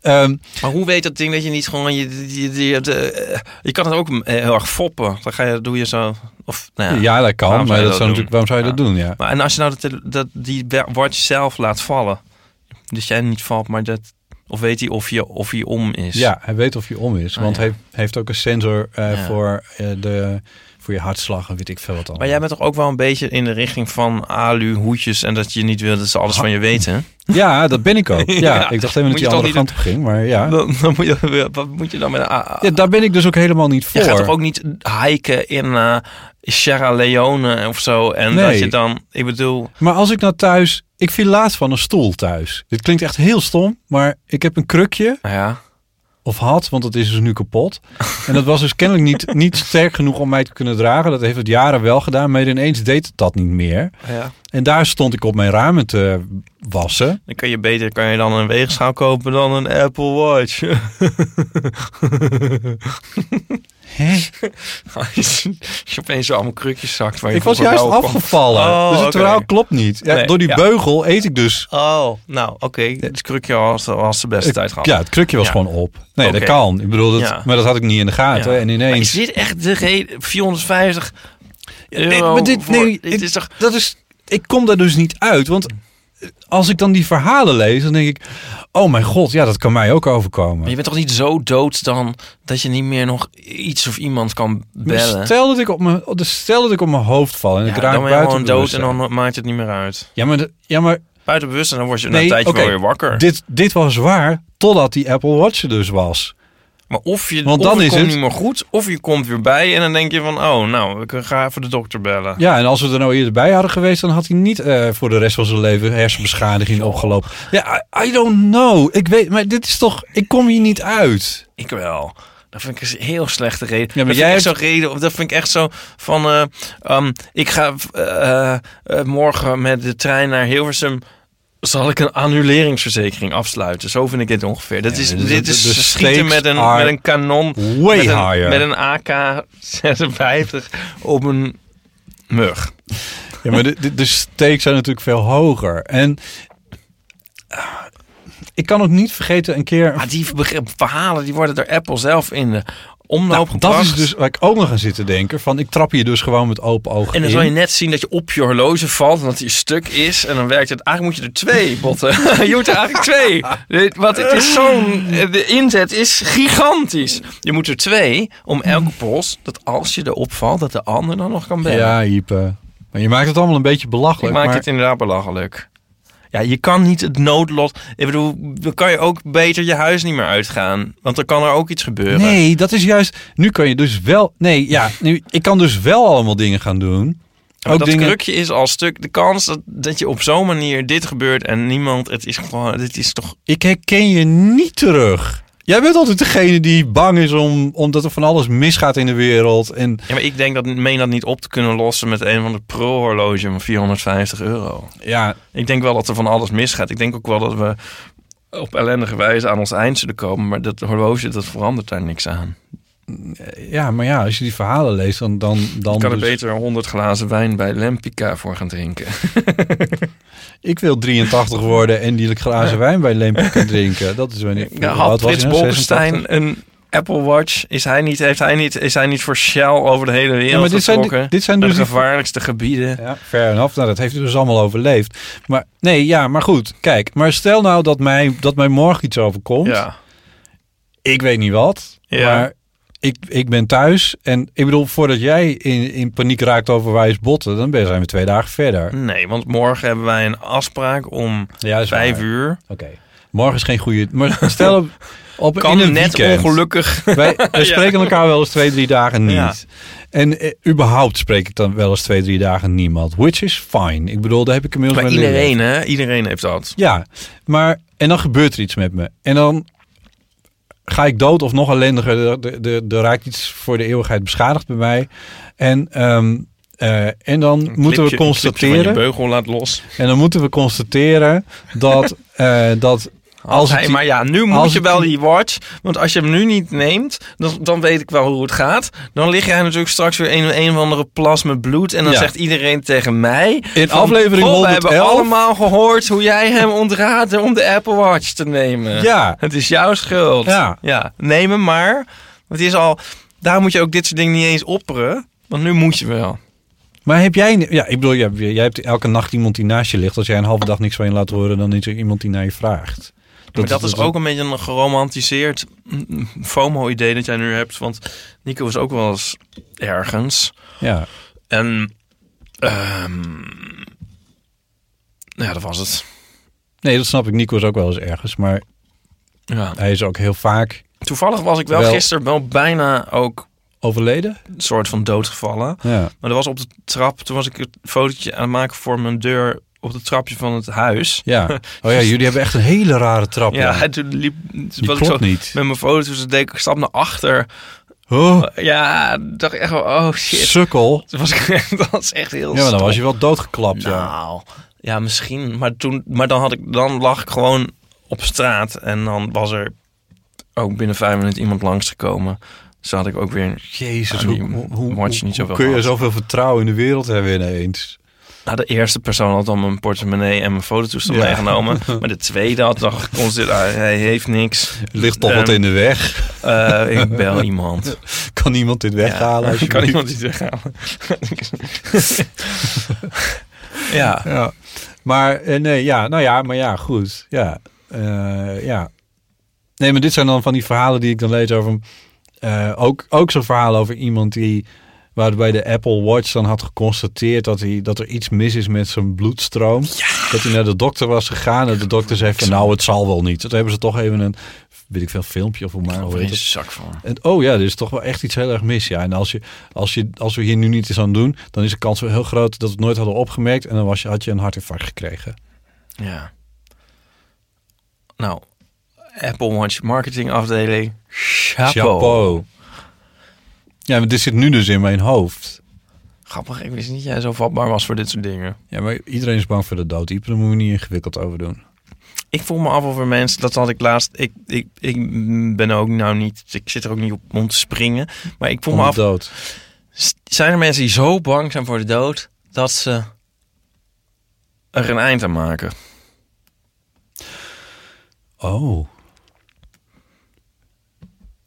Speaker 1: Ehm,
Speaker 2: Maar hoe weet dat ding dat je niet gewoon... Je, je, je, je, de- je kan het ook eh, heel erg foppen. Dan ga je, doe je zo... Of, nou
Speaker 1: ja,
Speaker 2: ja.
Speaker 1: dat kan,
Speaker 2: waarom zou
Speaker 1: maar
Speaker 2: je
Speaker 1: dat
Speaker 2: dat
Speaker 1: zou
Speaker 2: doen?
Speaker 1: natuurlijk, waarom zou je
Speaker 2: Ja.
Speaker 1: dat doen? Ja.
Speaker 2: Maar en als je nou dat, dat, die watch zelf laat vallen. Dus jij niet valt, maar dat... Of weet hij of je, of je om is.
Speaker 1: ja, hij weet of je om is,
Speaker 2: Ah,
Speaker 1: want
Speaker 2: ja.
Speaker 1: hij heeft ook een sensor eh,
Speaker 2: Ja.
Speaker 1: voor, eh, de, voor je hartslag en weet ik veel wat allemaal.
Speaker 2: Maar jij bent toch ook wel een beetje in de richting van alu hoedjes en dat je niet wil dat ze alles van je weten.
Speaker 1: Ja, dat ben ik
Speaker 2: [LAUGHS]
Speaker 1: ook. Ja,
Speaker 2: Ja.
Speaker 1: ik dacht even
Speaker 2: Moet
Speaker 1: dat
Speaker 2: je
Speaker 1: je andere
Speaker 2: toch niet
Speaker 1: kant op ging, maar ja.
Speaker 2: Dan, dan moet je, wat moet je dan met een a-
Speaker 1: ja. Daar ben ik dus ook helemaal niet voor.
Speaker 2: Je gaat toch ook niet hiken in eh, Sierra Leone of zo en
Speaker 1: Nee.
Speaker 2: dat je dan, ik bedoel,
Speaker 1: Maar als ik nou thuis... Ik viel laatst van een stoel thuis. Dit klinkt echt heel stom, maar ik heb een krukje,
Speaker 2: nou ja,
Speaker 1: of had, want dat is dus nu
Speaker 2: [LAUGHS]
Speaker 1: kapot. En dat was dus kennelijk niet, niet sterk genoeg om mij te kunnen dragen. Dat heeft het jaren wel gedaan, maar ineens deed het dat niet meer.
Speaker 2: ja,
Speaker 1: En daar stond ik op mijn ramen te wassen.
Speaker 2: dan kan je beter, kan je dan een weegschaal kopen dan een Apple Watch.
Speaker 1: [LAUGHS] Hè?
Speaker 2: Als je opeens zo allemaal krukjes zakt waar je
Speaker 1: Ik was
Speaker 2: vroeger
Speaker 1: juist
Speaker 2: wel kwam.
Speaker 1: afgevallen,
Speaker 2: Oh,
Speaker 1: dus het
Speaker 2: oké.
Speaker 1: verhaal klopt niet. Ja,
Speaker 2: Nee,
Speaker 1: door die
Speaker 2: ja.
Speaker 1: beugel eet ik dus
Speaker 2: Oh, nou oké, het krukje was, was de beste tijd gehad.
Speaker 1: Eh, Ja, het krukje was
Speaker 2: Ja.
Speaker 1: gewoon op. Nee,
Speaker 2: Oké.
Speaker 1: dat kan. Ik bedoel, dat,
Speaker 2: Ja.
Speaker 1: maar dat had ik niet in de gaten.
Speaker 2: Ja.
Speaker 1: En
Speaker 2: Maar
Speaker 1: ineens...
Speaker 2: is dit echt de reden? 450 euro
Speaker 1: Nee, maar dit-
Speaker 2: voor-
Speaker 1: nee,
Speaker 2: dit
Speaker 1: ik-
Speaker 2: is toch...
Speaker 1: dat is, ik kom daar dus niet uit, want als ik dan die verhalen lees, dan denk ik... Oh mijn god, ja, dat kan mij ook
Speaker 2: Maar
Speaker 1: overkomen.
Speaker 2: je bent toch niet zo dood dan dat je niet meer nog iets of iemand kan bellen?
Speaker 1: Stel dat, ik op mijn, dus stel dat ik op mijn hoofd val en
Speaker 2: Ja,
Speaker 1: ik raak
Speaker 2: dan ben je
Speaker 1: buiten
Speaker 2: gewoon dood en
Speaker 1: bewustzijn.
Speaker 2: dan maakt het niet meer uit.
Speaker 1: Ja, maar, de- ja, maar
Speaker 2: Buiten bewustzijn, dan word je na
Speaker 1: Nee,
Speaker 2: een tijdje
Speaker 1: oké.
Speaker 2: wel weer wakker.
Speaker 1: dit, dit was waar totdat die Apple Watch er dus was.
Speaker 2: Maar of je,
Speaker 1: Want
Speaker 2: of
Speaker 1: dan
Speaker 2: het
Speaker 1: is
Speaker 2: komt
Speaker 1: het-
Speaker 2: niet meer goed, of je komt weer bij en dan denk je van... Oh, nou, ik ga even de dokter bellen.
Speaker 1: Ja, en als we er nou eerder bij hadden geweest, dan had hij niet eh, voor de rest van zijn leven hersenbeschadiging opgelopen. Ja, I, I don't know. Ik weet, maar dit is toch, ik kom hier niet uit.
Speaker 2: Ik wel. Dat vind ik een heel slechte reden.
Speaker 1: maar
Speaker 2: dat
Speaker 1: jij
Speaker 2: vind ik echt zo'n reden. of Dat vind ik echt zo van. eh, ehm, ik ga eh, eh, eh, morgen met de trein naar Hilversum. Zal ik een annuleringsverzekering afsluiten? Zo vind ik dit ongeveer. Dat
Speaker 1: Ja,
Speaker 2: is,
Speaker 1: dus de-
Speaker 2: dit
Speaker 1: de-
Speaker 2: is
Speaker 1: de
Speaker 2: schieten
Speaker 1: stakes
Speaker 2: met een,
Speaker 1: are
Speaker 2: met een kanon.
Speaker 1: Way
Speaker 2: met een,
Speaker 1: higher.
Speaker 2: Met een AK-56 op een mug.
Speaker 1: Ja, maar de, de, de stakes zijn natuurlijk veel hoger. En ah, ik kan ook niet vergeten een keer.
Speaker 2: Maar die beg- verhalen die worden door Apple zelf in de omloop
Speaker 1: Nou, dat
Speaker 2: gebracht.
Speaker 1: is dus waar ik ook nog aan zit te denken. Van ik trap hier dus gewoon met open ogen
Speaker 2: En
Speaker 1: in.
Speaker 2: dan zal je net zien dat je op je horloge valt en dat die stuk is. En dan werkt het. Eigenlijk moet je er twee botten. [LAUGHS] je moet er eigenlijk twee. Dit- Want het is zo'n. eh, De inzet is gigantisch. Je moet er twee om elke post. Dat als je erop valt, dat de ander dan nog kan bellen.
Speaker 1: Ja, Ipe. Maar je maakt het allemaal een beetje
Speaker 2: Ik
Speaker 1: belachelijk.
Speaker 2: maak
Speaker 1: maar
Speaker 2: het inderdaad belachelijk. Ja, je kan niet het noodlot. Ik bedoel, dan kan je ook beter je huis niet meer uitgaan. Want dan kan er ook iets gebeuren.
Speaker 1: Nee, dat is juist. Nu kan je dus wel. Nee, ja. Nu, ik kan dus wel allemaal dingen gaan doen.
Speaker 2: Maar
Speaker 1: ook
Speaker 2: dat
Speaker 1: dingen.
Speaker 2: krukje is al stuk. De kans dat, dat je op zo'n manier dit gebeurt en niemand. Het is gewoon. Dit is toch
Speaker 1: Ik herken je niet terug. Jij bent altijd degene die bang is om, omdat er van alles misgaat in de wereld. En
Speaker 2: Ja, maar ik denk dat meen dat niet op te kunnen lossen met een van de pro-horloge van 450 euro.
Speaker 1: ja,
Speaker 2: Ik denk wel dat er van alles misgaat. Ik denk ook wel dat we op ellendige wijze aan ons eind zullen komen. Maar dat horloge, dat verandert daar niks aan.
Speaker 1: ja, maar ja, als je die verhalen leest, dan. dan, dan
Speaker 2: Ik kan er
Speaker 1: dus-
Speaker 2: beter 100 glazen wijn bij Lempica voor gaan drinken.
Speaker 1: Ik wil 83 worden en
Speaker 2: [LAUGHS]
Speaker 1: die glazen wijn bij Lempje kan drinken. Dat is wanneer.
Speaker 2: Ja, had Frits
Speaker 1: nou?
Speaker 2: Bolkestein een Apple Watch? Is hij niet, heeft hij niet, is hij niet voor Shell over de hele wereld
Speaker 1: Ja, maar dit
Speaker 2: getrokken?
Speaker 1: zijn, dit zijn
Speaker 2: Naar
Speaker 1: dus
Speaker 2: de
Speaker 1: die-
Speaker 2: gevaarlijkste gebieden.
Speaker 1: Ja, fair enough. Nou, dat heeft hij dus allemaal overleefd. Maar nee, ja, maar goed. Kijk, maar stel nou dat mij, dat mij morgen iets overkomt.
Speaker 2: Ja.
Speaker 1: Ik weet niet wat.
Speaker 2: Ja.
Speaker 1: Maar ik, ik ben thuis. En ik bedoel, voordat jij in, in paniek raakt over wijs botten, dan ben zijn we twee dagen verder.
Speaker 2: Nee, want morgen hebben wij een afspraak om
Speaker 1: Ja, dat is waar.
Speaker 2: vijf uur.
Speaker 1: Oké. Morgen is geen goede. Maar stel op, op
Speaker 2: kan
Speaker 1: in een
Speaker 2: net
Speaker 1: weekend.
Speaker 2: ongelukkig. [LAUGHS]
Speaker 1: Wij, wij spreken elkaar wel eens twee, drie dagen niet.
Speaker 2: Ja.
Speaker 1: En eh, überhaupt spreek ik dan wel eens twee, drie dagen niemand. Which is fine. Ik bedoel, daar heb ik inmiddels
Speaker 2: Maar
Speaker 1: mijn leer-
Speaker 2: iedereen, hè? Iedereen heeft dat.
Speaker 1: Ja, maar en dan gebeurt er iets met me. En dan ga ik dood of nog ellendiger. Er- Er er- er raakt iets voor de eeuwigheid beschadigd bij mij. En, ehm, eh, en dan moeten we
Speaker 2: Knipje- knipje Van
Speaker 1: constateren.
Speaker 2: je beugel laat los.
Speaker 1: En dan moeten we constateren
Speaker 2: [LAUGHS]
Speaker 1: dat, eh, dat
Speaker 2: Als
Speaker 1: als
Speaker 2: hij,
Speaker 1: het,
Speaker 2: maar ja, nu moet
Speaker 1: als
Speaker 2: je
Speaker 1: het
Speaker 2: wel
Speaker 1: die-
Speaker 2: die watch. Want als je hem nu niet neemt, dan, dan weet ik wel hoe het gaat. Dan lig jij natuurlijk straks weer een, een of andere plas met bloed. En dan
Speaker 1: Ja.
Speaker 2: zegt iedereen tegen mij...
Speaker 1: in aflevering
Speaker 2: "Goh, we
Speaker 1: 111...
Speaker 2: hebben allemaal gehoord hoe jij hem ontraadde om de Apple Watch te nemen.
Speaker 1: Ja,
Speaker 2: Het is jouw schuld.
Speaker 1: Ja.
Speaker 2: Neem hem maar. Want Het is al... Daar moet je ook dit soort dingen niet eens opperen. Want nu moet je wel.
Speaker 1: maar heb jij... Ja, ik bedoel, jij, jij hebt elke nacht iemand die naast je ligt. Als jij een halve dag niks van je laat horen, dan is er iemand die naar je vraagt. dus
Speaker 2: maar dat, is ook een beetje een geromantiseerd mm, FOMO-idee dat jij nu hebt. Want Nico was ook wel eens ergens.
Speaker 1: Ja.
Speaker 2: En. ehm, ja, dat was het.
Speaker 1: Nee, dat snap ik. Nico is ook wel eens ergens. Maar
Speaker 2: Ja.
Speaker 1: hij is ook heel vaak
Speaker 2: Toevallig was ik wel,
Speaker 1: Wel-
Speaker 2: gisteren wel bijna ook
Speaker 1: overleden.
Speaker 2: een soort van doodgevallen.
Speaker 1: Ja.
Speaker 2: Maar dat was op de trap. Toen was ik het fotootje aan het maken voor mijn deur op het trapje van het huis. [LAUGHS]
Speaker 1: ja. Oh ja, jullie hebben echt een hele rare trap.
Speaker 2: Ja,
Speaker 1: Ja,
Speaker 2: en [LAUGHS] toen liep
Speaker 1: Die
Speaker 2: was ik
Speaker 1: klopt
Speaker 2: zo
Speaker 1: niet.
Speaker 2: met mijn foto's. Dus deed ik een stap naar achter.
Speaker 1: Oh,
Speaker 2: Ja, dacht ik echt wel, oh [LAUGHS] shit.
Speaker 1: sukkel.
Speaker 2: Toen was ik, [LAUGHS] dat was echt heel
Speaker 1: Ja, maar dan
Speaker 2: stom.
Speaker 1: was je wel doodgeklapt. Ja.
Speaker 2: Nou, ja, misschien. Maar, toen, maar dan, had ik, dan lag ik gewoon op straat. En dan was er ook binnen vijf minuten iemand langsgekomen. Dus had ik ook weer...
Speaker 1: Jezus,
Speaker 2: Nou,
Speaker 1: hoe,
Speaker 2: die
Speaker 1: hoe, hoe,
Speaker 2: moet je niet
Speaker 1: hoe
Speaker 2: zoveel
Speaker 1: kun je
Speaker 2: gehad.
Speaker 1: zoveel vertrouwen in de wereld hebben ineens?
Speaker 2: Nou, de eerste persoon had dan mijn portemonnee en mijn fototoestel
Speaker 1: Ja. [LAUGHS]
Speaker 2: meegenomen. Maar de tweede had dan geconstateerd, ah, hij heeft niks.
Speaker 1: Er ligt toch wat
Speaker 2: Ehm,
Speaker 1: in de weg? [LAUGHS]
Speaker 2: Eh, ik bel iemand.
Speaker 1: Kan iemand dit weghalen?
Speaker 2: Ja, [LAUGHS]
Speaker 1: alsjeblieft?
Speaker 2: kan
Speaker 1: [LAUGHS]
Speaker 2: iemand iets weghalen? ja.
Speaker 1: Ja. Maar eh, nee, ja, nou ja, maar ja, goed. Ja, eh, ja. Nee, maar dit zijn dan van die verhalen die ik dan lees over... eh, ook, ook zo'n verhaal over iemand die... waarbij de Apple Watch dan had geconstateerd dat, hij, dat er iets mis is met zijn bloedstroom. Dat hij naar de dokter was gegaan en de dokter zei van... nou, het zal wel niet. Dat hebben ze toch even een, weet ik veel, filmpje of hoe maar... hoe
Speaker 2: Over
Speaker 1: heet
Speaker 2: een
Speaker 1: het?
Speaker 2: zak van.
Speaker 1: En, oh ja, er is toch wel echt iets heel erg mis. Ja. En als, je, als, je, als we hier nu niet eens aan doen, dan is de kans wel heel groot dat we het nooit hadden opgemerkt. En dan was je, had je een hartinfarct gekregen.
Speaker 2: Ja. Nou, Apple Watch marketing afdeling. Chapeau.
Speaker 1: Chapeau. Ja, maar dit zit nu dus in mijn hoofd.
Speaker 2: Grappig, ik wist niet dat jij zo vatbaar was voor dit soort dingen.
Speaker 1: Ja, maar iedereen is bang voor de dood. Ieper, daar moet je niet ingewikkeld over doen.
Speaker 2: Ik voel me af over mensen, dat had ik laatst. Ik, ik, ik ben ook nou niet, ik zit er ook niet op om te springen. Maar ik voel
Speaker 1: Om
Speaker 2: me
Speaker 1: de
Speaker 2: af,
Speaker 1: dood.
Speaker 2: s- zijn er mensen die zo bang zijn voor de dood dat ze er een eind aan maken?
Speaker 1: Oh.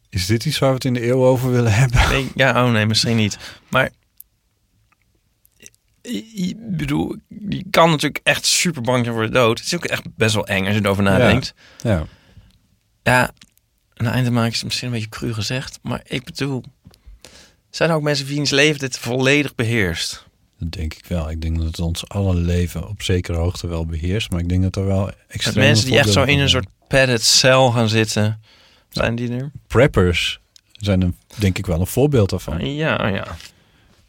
Speaker 1: Is dit iets waar we het in de eeuw over willen hebben?
Speaker 2: Nee, ja, oh nee, misschien niet. Maar ik ik bedoel, je kan natuurlijk echt super bang zijn voor de dood. Het is ook echt best wel eng als je erover nadenkt.
Speaker 1: Ja.
Speaker 2: Ja, een eind aan maken is misschien een beetje cru gezegd. Maar ik bedoel, zijn er ook mensen wiens leven dit volledig beheerst?
Speaker 1: Dat denk ik wel. Ik denk dat het ons alle leven op zekere hoogte wel beheerst. Maar ik denk dat er wel
Speaker 2: Dat
Speaker 1: extreme
Speaker 2: mensen die echt zo
Speaker 1: voorbeelden
Speaker 2: in
Speaker 1: van
Speaker 2: een
Speaker 1: zijn.
Speaker 2: soort padded cel gaan zitten. Zijn die er?
Speaker 1: preppers zijn een, denk ik wel een voorbeeld daarvan.
Speaker 2: Ja, oh ja.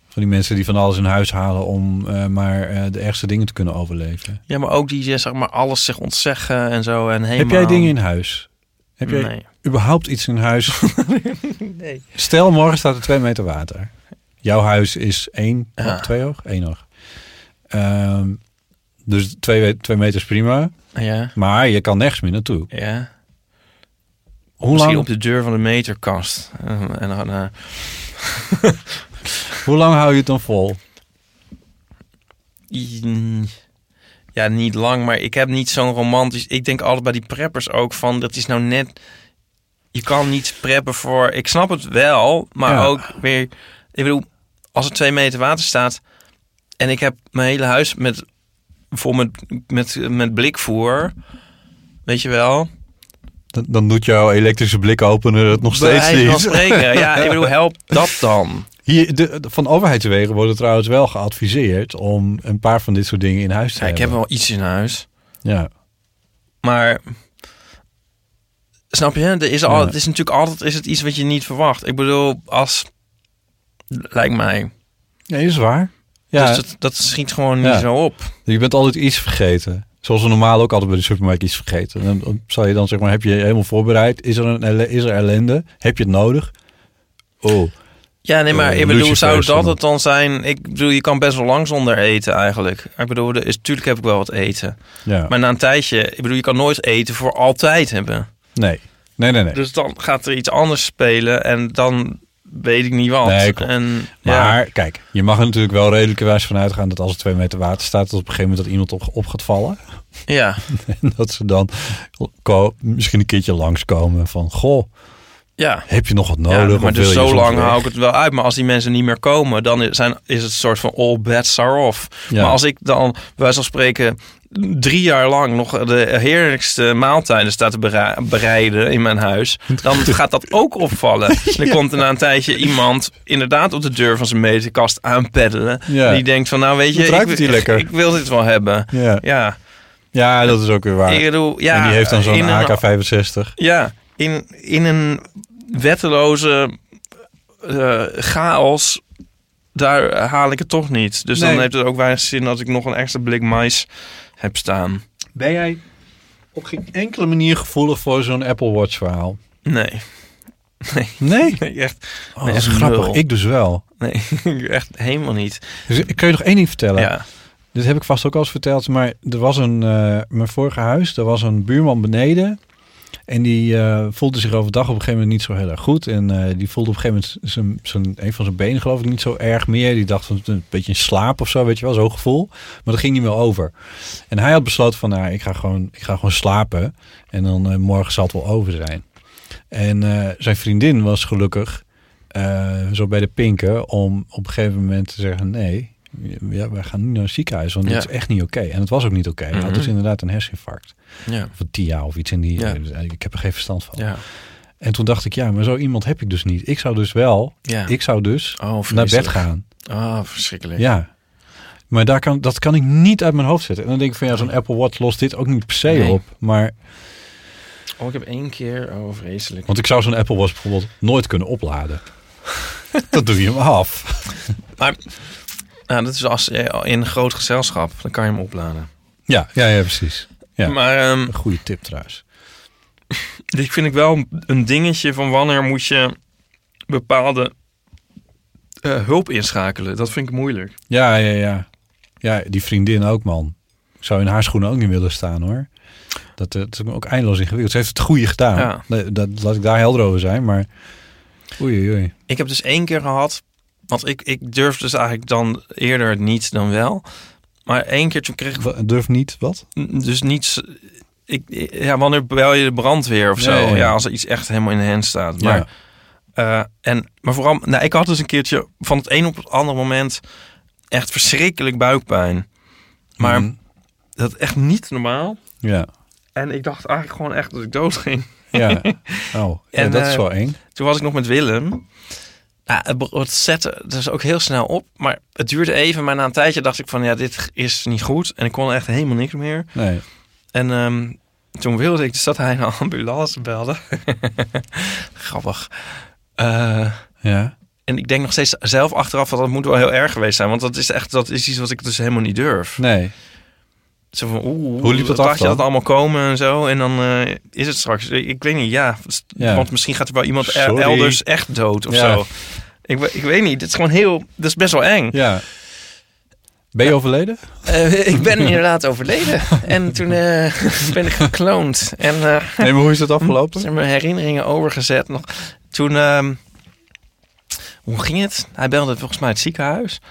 Speaker 1: Van die mensen die van alles in huis halen om eh, maar eh, de ergste dingen te kunnen overleven.
Speaker 2: Ja, maar ook die zeg maar alles zich ontzeggen en zo. En helemaal...
Speaker 1: Heb jij dingen in huis? Heb jij
Speaker 2: Nee.
Speaker 1: überhaupt iets in
Speaker 2: [LAUGHS]
Speaker 1: huis? Stel, morgen staat er twee meter water. Jouw huis is één,
Speaker 2: Ja.
Speaker 1: twee hoog? Eén hoog. Ehm, dus twee, twee meter is prima.
Speaker 2: Ja,
Speaker 1: Maar je kan nergens meer naartoe.
Speaker 2: ja.
Speaker 1: Hoe
Speaker 2: Misschien
Speaker 1: lang,
Speaker 2: op de deur van de meterkast. En, en dan, eh,
Speaker 1: hoe lang hou je het dan vol?
Speaker 2: i- eh, ja, niet lang, maar ik heb niet zo'n romantisch... Ik denk altijd bij die preppers ook van, dat is nou net... Je kan niet preppen voor... Ik snap het wel, maar
Speaker 1: Ja.
Speaker 2: ook weer... Ik bedoel, als er twee meter water staat... En ik heb mijn hele huis met, vol met, met, met blikvoer. Weet je wel?
Speaker 1: Dan, dan doet jouw elektrische blikopener het nog
Speaker 2: Bij
Speaker 1: steeds
Speaker 2: wijze van
Speaker 1: niet.
Speaker 2: spreken. Ja, ik bedoel, help dat dan.
Speaker 1: Hier, de, de- van overheidswegen wordt trouwens wel geadviseerd om een paar van dit soort dingen in huis te
Speaker 2: Ja, ik heb
Speaker 1: hebben.
Speaker 2: wel iets in huis.
Speaker 1: Ja,
Speaker 2: Maar snap je, er is al,
Speaker 1: Ja.
Speaker 2: het is natuurlijk altijd is het iets wat je niet verwacht. Ik bedoel, als lijkt mij.
Speaker 1: ja is waar. Ja,
Speaker 2: Dus dat, dat schiet gewoon
Speaker 1: Ja.
Speaker 2: niet zo op.
Speaker 1: je bent altijd iets vergeten. Zoals we normaal ook altijd bij de supermarkt iets vergeten. En Dan, dan zal je dan zeg maar, heb je je helemaal voorbereid? Is er, een, elle- is er ellende? Heb je het nodig? Oh,
Speaker 2: Ja, nee, maar
Speaker 1: Eh,
Speaker 2: ik bedoel,
Speaker 1: lucifers
Speaker 2: zou dat
Speaker 1: dan.
Speaker 2: het dan zijn? Ik bedoel, je kan best wel lang zonder eten eigenlijk. Ik bedoel, er is, tuurlijk heb ik wel wat eten.
Speaker 1: ja.
Speaker 2: Maar na een tijdje, ik bedoel, je kan nooit eten voor altijd hebben.
Speaker 1: nee. Nee, nee, nee.
Speaker 2: Dus dan gaat er iets anders spelen en dan weet ik niet wat.
Speaker 1: Nee, klopt.
Speaker 2: en, ja.
Speaker 1: Maar kijk, je mag er natuurlijk wel redelijkerwijs van uitgaan dat als er twee meter water staat, dat op een gegeven moment dat iemand op, op gaat vallen. [LAUGHS]
Speaker 2: ja.
Speaker 1: En dat ze dan ko- misschien een keertje langskomen van, goh,
Speaker 2: ja.
Speaker 1: heb je nog wat
Speaker 2: Ja,
Speaker 1: nodig?
Speaker 2: maar
Speaker 1: Of
Speaker 2: dus
Speaker 1: wil je
Speaker 2: zo
Speaker 1: soms
Speaker 2: lang
Speaker 1: weg?
Speaker 2: hou ik het wel uit. Maar als die mensen niet meer komen, dan is, zijn, is het een soort van all bets are off.
Speaker 1: Ja.
Speaker 2: Maar als ik dan, bij wijze van spreken, drie jaar lang nog de heerlijkste maaltijden sta te bera- bereiden in mijn huis, dan gaat dat ook
Speaker 1: [LAUGHS]
Speaker 2: opvallen. Dan komt er na een tijdje iemand inderdaad op de deur van zijn meterkast aanpeddelen.
Speaker 1: Ja.
Speaker 2: Die denkt van, nou weet je,
Speaker 1: Wat ruikt
Speaker 2: ik,
Speaker 1: het hier lekker?
Speaker 2: ik wil dit wel hebben.
Speaker 1: Ja.
Speaker 2: Ja,
Speaker 1: ja, dat is ook weer waar.
Speaker 2: ik bedoel, ja.
Speaker 1: en die heeft dan zo'n
Speaker 2: in een-
Speaker 1: AK-65.
Speaker 2: ja, in, in een wetteloze eh, chaos, daar haal ik het toch niet. Dus
Speaker 1: Nee.
Speaker 2: dan heeft het ook weinig zin dat ik nog een extra blik mais heb staan.
Speaker 1: Ben jij op geen enkele manier gevoelig voor zo'n Apple Watch verhaal?
Speaker 2: Nee, [LAUGHS]
Speaker 1: Nee.
Speaker 2: nee echt,
Speaker 1: Oh, dat is
Speaker 2: Echt
Speaker 1: grappig.
Speaker 2: nul.
Speaker 1: Ik dus wel.
Speaker 2: nee, [LAUGHS] echt helemaal niet.
Speaker 1: Dus ik kan je nog één ding vertellen.
Speaker 2: Ja,
Speaker 1: Dit heb ik vast ook al eens verteld, maar er was een, eh, mijn vorige huis, er was een buurman beneden. En die eh, voelde zich overdag op een gegeven moment niet zo heel erg goed. En eh, die voelde op een gegeven moment zijn, zijn, een van zijn benen geloof ik niet zo erg meer. Die dacht van een beetje in slaap of zo, weet je wel, zo'n gevoel. Maar dat ging niet meer over. En hij had besloten van, nou, ik ga gewoon, ik ga gewoon slapen. En dan eh, morgen zal het wel over zijn. En eh, zijn vriendin was gelukkig eh, zo bij de pinken om op een gegeven moment te zeggen, nee, ja, wij gaan nu naar een ziekenhuis, want
Speaker 2: Ja.
Speaker 1: dit is echt niet oké. En het was ook niet oké. Hij had dus
Speaker 2: Mhm.
Speaker 1: inderdaad een herseninfarct.
Speaker 2: Ja.
Speaker 1: Of een TIA of iets in die... eh, dus,
Speaker 2: Ja.
Speaker 1: Ik heb er geen verstand van.
Speaker 2: Ja.
Speaker 1: En toen dacht ik, ja, maar zo iemand heb ik dus niet. Ik zou dus wel,
Speaker 2: ja.
Speaker 1: ik zou dus
Speaker 2: oh,
Speaker 1: naar bed
Speaker 2: vreselijk.
Speaker 1: gaan.
Speaker 2: Oh, verschrikkelijk.
Speaker 1: Ja. Maar daar kan, dat kan ik niet uit mijn hoofd zetten. En dan denk ik van ja, zo'n Apple Watch lost dit ook niet per se
Speaker 2: Nee.
Speaker 1: op. Maar,
Speaker 2: Oh, ik heb één keer. Oh, vreselijk.
Speaker 1: want ik zou zo'n Apple Watch bijvoorbeeld nooit kunnen [LAUGHS] opladen. dat doe je hem af.
Speaker 2: Nou, dat is als je in een groot gezelschap. Dan kan je hem opladen.
Speaker 1: Ja, ja, ja precies. Ja.
Speaker 2: Maar ehm,
Speaker 1: Een goede tip trouwens.
Speaker 2: dit vind ik wel een dingetje van wanneer moet je bepaalde eh, hulp inschakelen. Dat vind ik moeilijk.
Speaker 1: Ja, ja, ja. Ja, die vriendin ook, man. Ik zou in haar schoenen ook niet willen staan, hoor. Dat, eh, dat is me ook eindeloos ingewikkeld. Ze heeft het goede gedaan.
Speaker 2: Ja.
Speaker 1: Nee, dat, laat ik daar helder over zijn, maar... Oei, oei, oei.
Speaker 2: Ik heb dus één keer gehad. Want ik, ik durf dus eigenlijk dan eerder het niet dan wel. Maar één keer toen kreeg ik
Speaker 1: Wa- Durf niet, wat?
Speaker 2: dus niets. Ik, ja, wanneer bel je de brandweer of zo?
Speaker 1: Ja, ja, ja.
Speaker 2: Ja, als er iets echt helemaal in de hand staat. Maar
Speaker 1: ja.
Speaker 2: Eh, en, maar vooral, nou, ik had dus een keertje van het een op het andere moment echt verschrikkelijk buikpijn. Maar
Speaker 1: Mhm.
Speaker 2: dat echt niet normaal.
Speaker 1: Ja.
Speaker 2: En ik dacht eigenlijk gewoon echt dat ik dood ging. [LAUGHS]
Speaker 1: Ja. Oh, ja,
Speaker 2: En,
Speaker 1: dat is
Speaker 2: eh,
Speaker 1: wel eng.
Speaker 2: Toen was ik nog met Willem. Nou, het be- het zette dus ook heel snel op. Maar het duurde even. Maar na een tijdje dacht ik van ja, dit is niet goed. En ik kon echt helemaal niks meer.
Speaker 1: Nee.
Speaker 2: En ehm, toen wilde ik dus dat hij een ambulance belde. [LAUGHS] Grappig. Eh,
Speaker 1: Ja.
Speaker 2: En ik denk nog steeds zelf achteraf dat dat moet wel heel erg geweest zijn. Want dat is echt dat is iets wat ik dus helemaal niet durf.
Speaker 1: Nee.
Speaker 2: Zo van, oeh,
Speaker 1: Hoe liep dat
Speaker 2: dacht
Speaker 1: af
Speaker 2: je
Speaker 1: dan?
Speaker 2: dat allemaal komen en zo? En dan eh, is het straks, ik, ik weet niet, ja, s-
Speaker 1: Ja.
Speaker 2: Want misschien gaat er wel iemand er-
Speaker 1: Sorry.
Speaker 2: elders echt dood of
Speaker 1: Ja.
Speaker 2: zo. Ik, we- ik weet niet, dit is gewoon heel, dat is best wel eng.
Speaker 1: Ja. Ben je overleden?
Speaker 2: Eh, ik ben inderdaad overleden. [LAUGHS] En toen eh, [LAUGHS] ben ik gekloond. En eh,
Speaker 1: Nee, maar hoe is het afgelopen?
Speaker 2: zijn mijn herinneringen overgezet nog. Toen, ehm, hoe ging het? Hij belde volgens mij het ziekenhuis.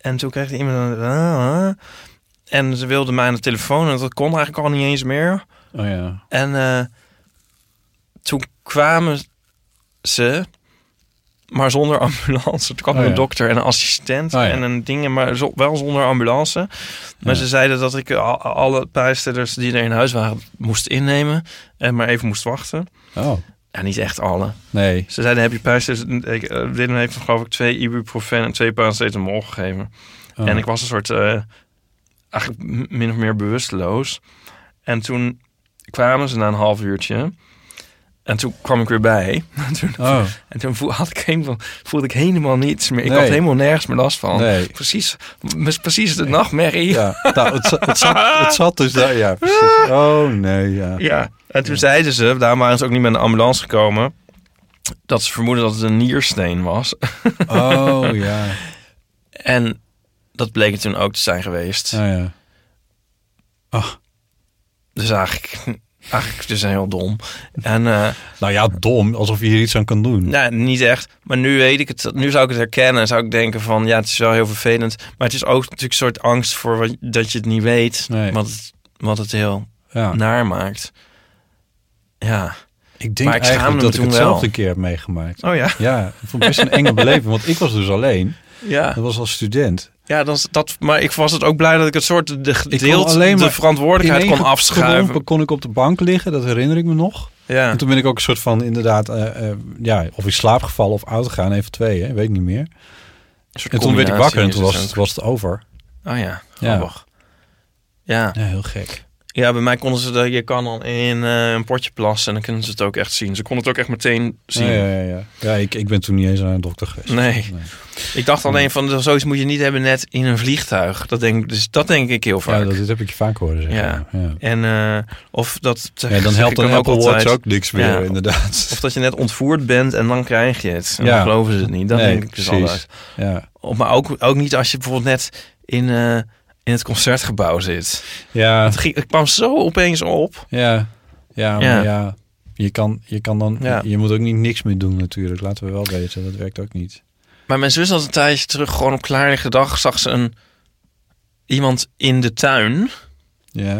Speaker 2: En toen kreeg hij iemand... een, ah, ah. en ze wilde mij aan de telefoon. En dat kon eigenlijk al niet eens meer.
Speaker 1: Oh ja.
Speaker 2: En eh, toen kwamen ze... Maar zonder ambulance. Toen kwam
Speaker 1: Oh
Speaker 2: er een
Speaker 1: ja.
Speaker 2: dokter en een assistent
Speaker 1: Oh ja.
Speaker 2: en een ding, maar zo- wel zonder ambulance. Maar
Speaker 1: Ja.
Speaker 2: ze zeiden dat ik al- alle pijnstillers die er in huis waren moest innemen en maar even moest wachten.
Speaker 1: Oh.
Speaker 2: Ja, niet echt alle.
Speaker 1: Nee.
Speaker 2: Ze zeiden, heb je pijnstillers? Ik, eh, Willem heeft me geloof ik twee ibuprofen en twee paracetamol gegeven.
Speaker 1: Oh.
Speaker 2: En ik was een soort, eh, eigenlijk m- min of meer bewusteloos. En toen kwamen ze na een half uurtje. En toen kwam ik weer bij. [LAUGHS] En toen,
Speaker 1: Oh,
Speaker 2: en toen voel- had ik helemaal, voelde ik helemaal niets meer. Ik
Speaker 1: Nee.
Speaker 2: had helemaal nergens meer last van.
Speaker 1: nee.
Speaker 2: Precies, m- precies de nachtmerrie. [LAUGHS] Ja.
Speaker 1: Ja. Nou, het, za- het, zat, het zat dus daar. Ja, precies. Oh nee, ja.
Speaker 2: En toen zeiden ze, daarom waren ze ook niet met een ambulance gekomen... dat ze vermoeden dat het een niersteen was. [LAUGHS]
Speaker 1: Oh ja.
Speaker 2: En dat bleek het toen ook te zijn geweest.
Speaker 1: Nou ja.
Speaker 2: Dus eigenlijk, [LAUGHS] eigenlijk dus heel dom. En eh,
Speaker 1: Nou ja, dom. Alsof je hier iets aan kan doen.
Speaker 2: nou, niet echt. Maar nu weet ik het. Nu zou ik het herkennen. en Zou ik denken van, ja, het is wel heel vervelend. Maar het is ook natuurlijk een soort angst voor wat, dat je het niet weet.
Speaker 1: Nee. Ah.
Speaker 2: Wat, het, wat het heel
Speaker 1: Ja.
Speaker 2: naar maakt. Ja.
Speaker 1: ik denk
Speaker 2: maar ik schaamde
Speaker 1: eigenlijk
Speaker 2: me
Speaker 1: dat ik
Speaker 2: toen
Speaker 1: het
Speaker 2: wel.
Speaker 1: zelf een keer heb meegemaakt.
Speaker 2: Oh ja.
Speaker 1: Ja, ik vond het best een
Speaker 2: [LAUGHS]
Speaker 1: enge beleving. Want ik was dus alleen.
Speaker 2: Ja,
Speaker 1: Dat was als student.
Speaker 2: ja dan, is dat, maar ik was het ook blij dat ik het soort de
Speaker 1: kon
Speaker 2: gedeeld,
Speaker 1: alleen
Speaker 2: de
Speaker 1: maar
Speaker 2: verantwoordelijkheid
Speaker 1: In
Speaker 2: kon
Speaker 1: één gedompen
Speaker 2: afschuiven.
Speaker 1: kon ik op de bank liggen. Dat herinner ik me nog.
Speaker 2: Ja.
Speaker 1: En toen ben ik ook een soort van inderdaad, eh, eh, ja, of in slaap gevallen of oud gegaan, even twee, hè, weet niet meer.
Speaker 2: Een soort
Speaker 1: En toen werd ik
Speaker 2: combinatie
Speaker 1: wakker en
Speaker 2: is
Speaker 1: toen
Speaker 2: het
Speaker 1: was het,
Speaker 2: ook.
Speaker 1: was het over.
Speaker 2: Oh ja,
Speaker 1: Ja.
Speaker 2: grappig. Ja.
Speaker 1: Ja, heel gek.
Speaker 2: Ja, bij mij konden ze dat. Je kan dan in eh, een potje plassen en dan kunnen ze het ook echt zien. Ze konden het ook echt meteen zien.
Speaker 1: Oh Ja, ja, ja, ja. ja ik, ik ben toen niet eens naar een dokter geweest.
Speaker 2: Nee. Ik dacht alleen van zoiets moet je niet hebben net in een vliegtuig. Dat denk, dus dat denk ik heel vaak.
Speaker 1: Ja, dat, dit heb ik je vaak horen zeggen.
Speaker 2: Ja.
Speaker 1: ja.
Speaker 2: En eh, of dat.
Speaker 1: Ja, dan
Speaker 2: zeg
Speaker 1: helpt
Speaker 2: ik
Speaker 1: een
Speaker 2: dan
Speaker 1: Apple Watch
Speaker 2: altijd.
Speaker 1: ook niks meer,
Speaker 2: Ja.
Speaker 1: inderdaad.
Speaker 2: Of dat je net ontvoerd bent en dan krijg je het. En
Speaker 1: Ja.
Speaker 2: dan geloven ze het niet. Dat
Speaker 1: Nee,
Speaker 2: denk ik dus
Speaker 1: precies.
Speaker 2: altijd.
Speaker 1: [LAUGHS] Ja,
Speaker 2: Of- Maar ook, ook niet als je bijvoorbeeld net in, eh, in het concertgebouw zit.
Speaker 1: ja,
Speaker 2: Het, ging, het kwam zo opeens op.
Speaker 1: ja, ja,
Speaker 2: Ja.
Speaker 1: maar ja. Je kan, je kan dan,
Speaker 2: Ja.
Speaker 1: je moet ook niet niks meer doen natuurlijk. Laten we wel weten, dat werkt ook niet.
Speaker 2: Maar mijn zus had een tijdje terug gewoon op klaarlichte dag zag ze een, iemand in de tuin.
Speaker 1: Ja.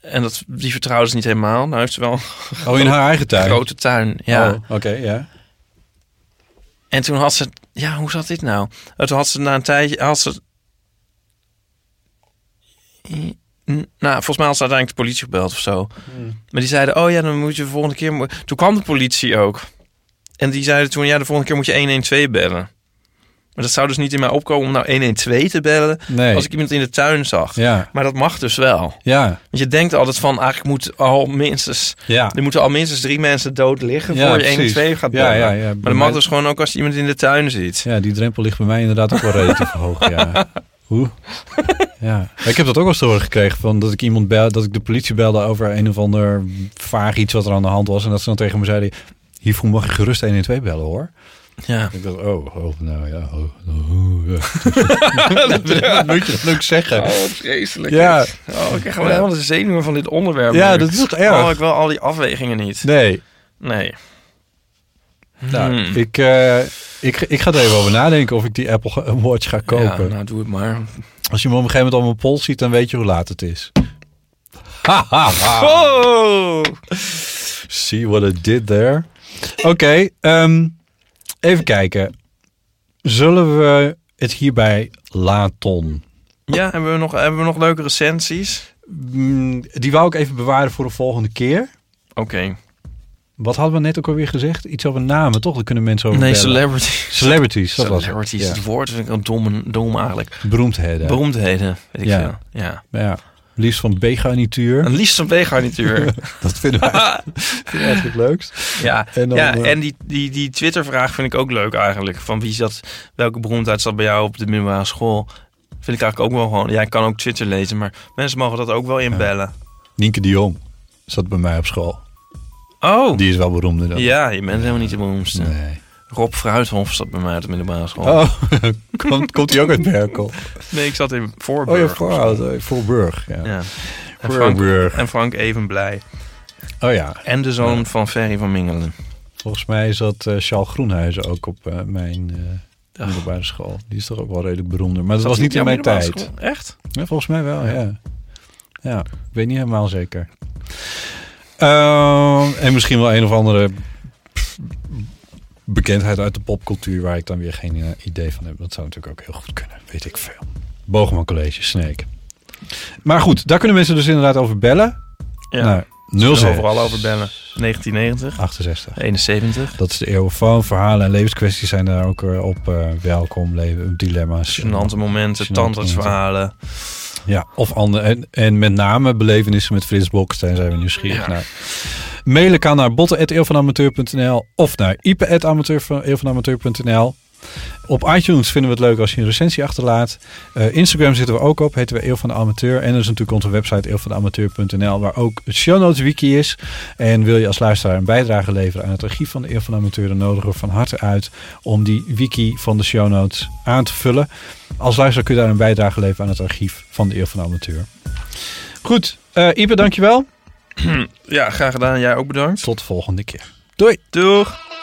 Speaker 2: En dat, die vertrouwde ze niet helemaal. Nou heeft ze wel een
Speaker 1: Oh, in haar eigen tuin?
Speaker 2: grote tuin. Ja.
Speaker 1: Oh, Oké, ja.
Speaker 2: En toen had ze... Ja, hoe zat dit nou? En toen had ze na een tijdje... Had ze N- Nou, volgens mij had ze uiteindelijk de politie gebeld of zo.
Speaker 1: Hmm.
Speaker 2: Maar die zeiden, oh ja, dan moet je de volgende keer... mo- Toen kwam de politie ook. En die zeiden toen, ja, de volgende keer moet je 112 bellen. Maar dat zou dus niet in mij opkomen om nou 112 te bellen...
Speaker 1: Nee.
Speaker 2: als ik iemand in de tuin zag.
Speaker 1: Ja,
Speaker 2: Maar dat mag dus wel.
Speaker 1: ja,
Speaker 2: Want je denkt altijd van, eigenlijk moet al minstens...
Speaker 1: ja.
Speaker 2: Er moeten al minstens drie mensen dood liggen...
Speaker 1: Ja,
Speaker 2: voor je
Speaker 1: precies.
Speaker 2: 112 gaat
Speaker 1: Ja,
Speaker 2: bellen.
Speaker 1: ja, ja.
Speaker 2: Maar dat mag dus gewoon ook als je iemand in de tuin ziet.
Speaker 1: Ja, die drempel ligt bij mij inderdaad ook wel [LAUGHS] relatief hoog. Ja. Hoe? Ja. Ik heb dat ook wel eens te horen gekregen van dat ik iemand bel, dat ik de politie belde over een of ander vaag iets wat er aan de hand was. En dat ze dan tegen me zeiden: Hiervoor mag je gerust 112 bellen hoor.
Speaker 2: Ja.
Speaker 1: Ik dacht, oh, oh nou ja. Oh, oh, [LAUGHS] ja. dat moet je dan ook zeggen.
Speaker 2: vreselijk.
Speaker 1: Ja,
Speaker 2: Oh, ik krijg gewoon helemaal de zenuwen van dit onderwerp.
Speaker 1: ja,
Speaker 2: nu.
Speaker 1: dat is toch
Speaker 2: Oh,
Speaker 1: erg?
Speaker 2: ik wil al die afwegingen niet.
Speaker 1: Nee.
Speaker 2: Nee.
Speaker 1: Nou,
Speaker 2: Hmm.
Speaker 1: ik, eh, ik, ik ga er even over nadenken of ik die Apple ga- Watch ga kopen.
Speaker 2: Ja, nou, doe het maar.
Speaker 1: Als je me op een gegeven moment op mijn pols ziet, dan weet je hoe laat het [LAUGHS] is. Ha, ha, ha.
Speaker 2: Oh!
Speaker 1: See what it did there. Oké, ehm, even kijken. Zullen we het hierbij laten?
Speaker 2: Ja, hebben we nog, hebben we nog leuke recensies?
Speaker 1: Mm, Die wou ik even bewaren voor de volgende keer.
Speaker 2: Oké.
Speaker 1: Wat hadden we net ook alweer gezegd? Iets over namen, toch? Daar kunnen mensen over
Speaker 2: Nee,
Speaker 1: bellen.
Speaker 2: celebrities.
Speaker 1: celebrities. Dat was
Speaker 2: Celebrities,
Speaker 1: het. Ja.
Speaker 2: is het woord vind ik een dom, dom eigenlijk.
Speaker 1: Beroemdheden.
Speaker 2: Beroemdheden, weet ik
Speaker 1: Ja.
Speaker 2: veel. Ja.
Speaker 1: ja. Liefst van
Speaker 2: [LAUGHS]
Speaker 1: B-garnituur.
Speaker 2: Een liefst van
Speaker 1: [LAUGHS]
Speaker 2: [LAUGHS] B-garnituur.
Speaker 1: Dat vinden we eigenlijk, vinden we eigenlijk het leukst.
Speaker 2: ja,
Speaker 1: En
Speaker 2: en,
Speaker 1: dan,
Speaker 2: ja,
Speaker 1: eh,
Speaker 2: en die, die, die Twitter-vraag vind ik ook leuk eigenlijk. Van wie zat, welke beroemdheid zat bij jou op de middelbare school? Vind ik eigenlijk ook wel gewoon. Jij kan ook Twitter lezen, maar mensen mogen dat ook wel inbellen.
Speaker 1: Nienke de Jong zat bij mij op school.
Speaker 2: Oh!
Speaker 1: Die is wel beroemder dan
Speaker 2: Ja, je bent helemaal niet de beroemdste.
Speaker 1: Nee.
Speaker 2: Rob Fruithof zat bij mij uit de middelbare school.
Speaker 1: Oh, [LAUGHS] komt, komt hij ook uit Berkel?
Speaker 2: Nee, ik zat in
Speaker 1: Oh
Speaker 2: Voorburg.
Speaker 1: ja, Voorhout, eh, Voorburg. Ja.
Speaker 2: Ja. En Frank,
Speaker 1: Voorburg.
Speaker 2: en Frank even blij.
Speaker 1: Oh ja,
Speaker 2: En de zoon van Ferry van Mingelen.
Speaker 1: volgens mij zat eh Charles Groenhuizen ook op eh, mijn eh middelbare school. Die is toch ook wel redelijk beroemder. Maar dat was niet in
Speaker 2: jouw
Speaker 1: mijn
Speaker 2: middelbare
Speaker 1: tijd.
Speaker 2: school? Echt?
Speaker 1: Ja, volgens mij wel, ja. Ja, ik weet niet helemaal zeker. Ehm, en misschien wel een of andere pff, bekendheid uit de popcultuur waar ik dan weer geen eh, idee van heb. Dat zou natuurlijk ook heel goed kunnen, weet ik veel. Bogeman College, Snake. Maar goed, daar kunnen mensen dus inderdaad over bellen.
Speaker 2: Ja.
Speaker 1: Naar
Speaker 2: Kunnen
Speaker 1: 06
Speaker 2: overal over bellen. 1990,
Speaker 1: 68.
Speaker 2: 71.
Speaker 1: Dat is de eeuwenfoon. Verhalen en levenskwesties zijn daar ook eh, op eh, welkom. Leven, dilemma's.
Speaker 2: Genante momenten, tandartsverhalen.
Speaker 1: Ja, of andere. En, en met name belevenissen met Frits Bok. Daar zijn we nieuwsgierig
Speaker 2: Ja.
Speaker 1: naar. Mailen kan naar botten.eeuwvanamateur.nl of naar ipe.eeuwvanamateur.nl. Op iTunes vinden we het leuk als je een recensie achterlaat. Eh, Instagram zitten we ook op, heten we Eeuw van de Amateur. En er is natuurlijk onze website eeuwvanamateur.nl, waar ook het show notes wiki is. En wil je als luisteraar een bijdrage leveren aan het archief van de Eeuw van de Amateur, dan nodigen we van harte uit om die wiki van de show notes aan te vullen. Als luisteraar kun je daar een bijdrage leveren aan het archief van de Eeuw van de Amateur. Goed, eh Ipe, dankjewel.
Speaker 2: Ja, graag gedaan. Jij ook bedankt.
Speaker 1: Tot de volgende keer. Doei!
Speaker 2: Doeg!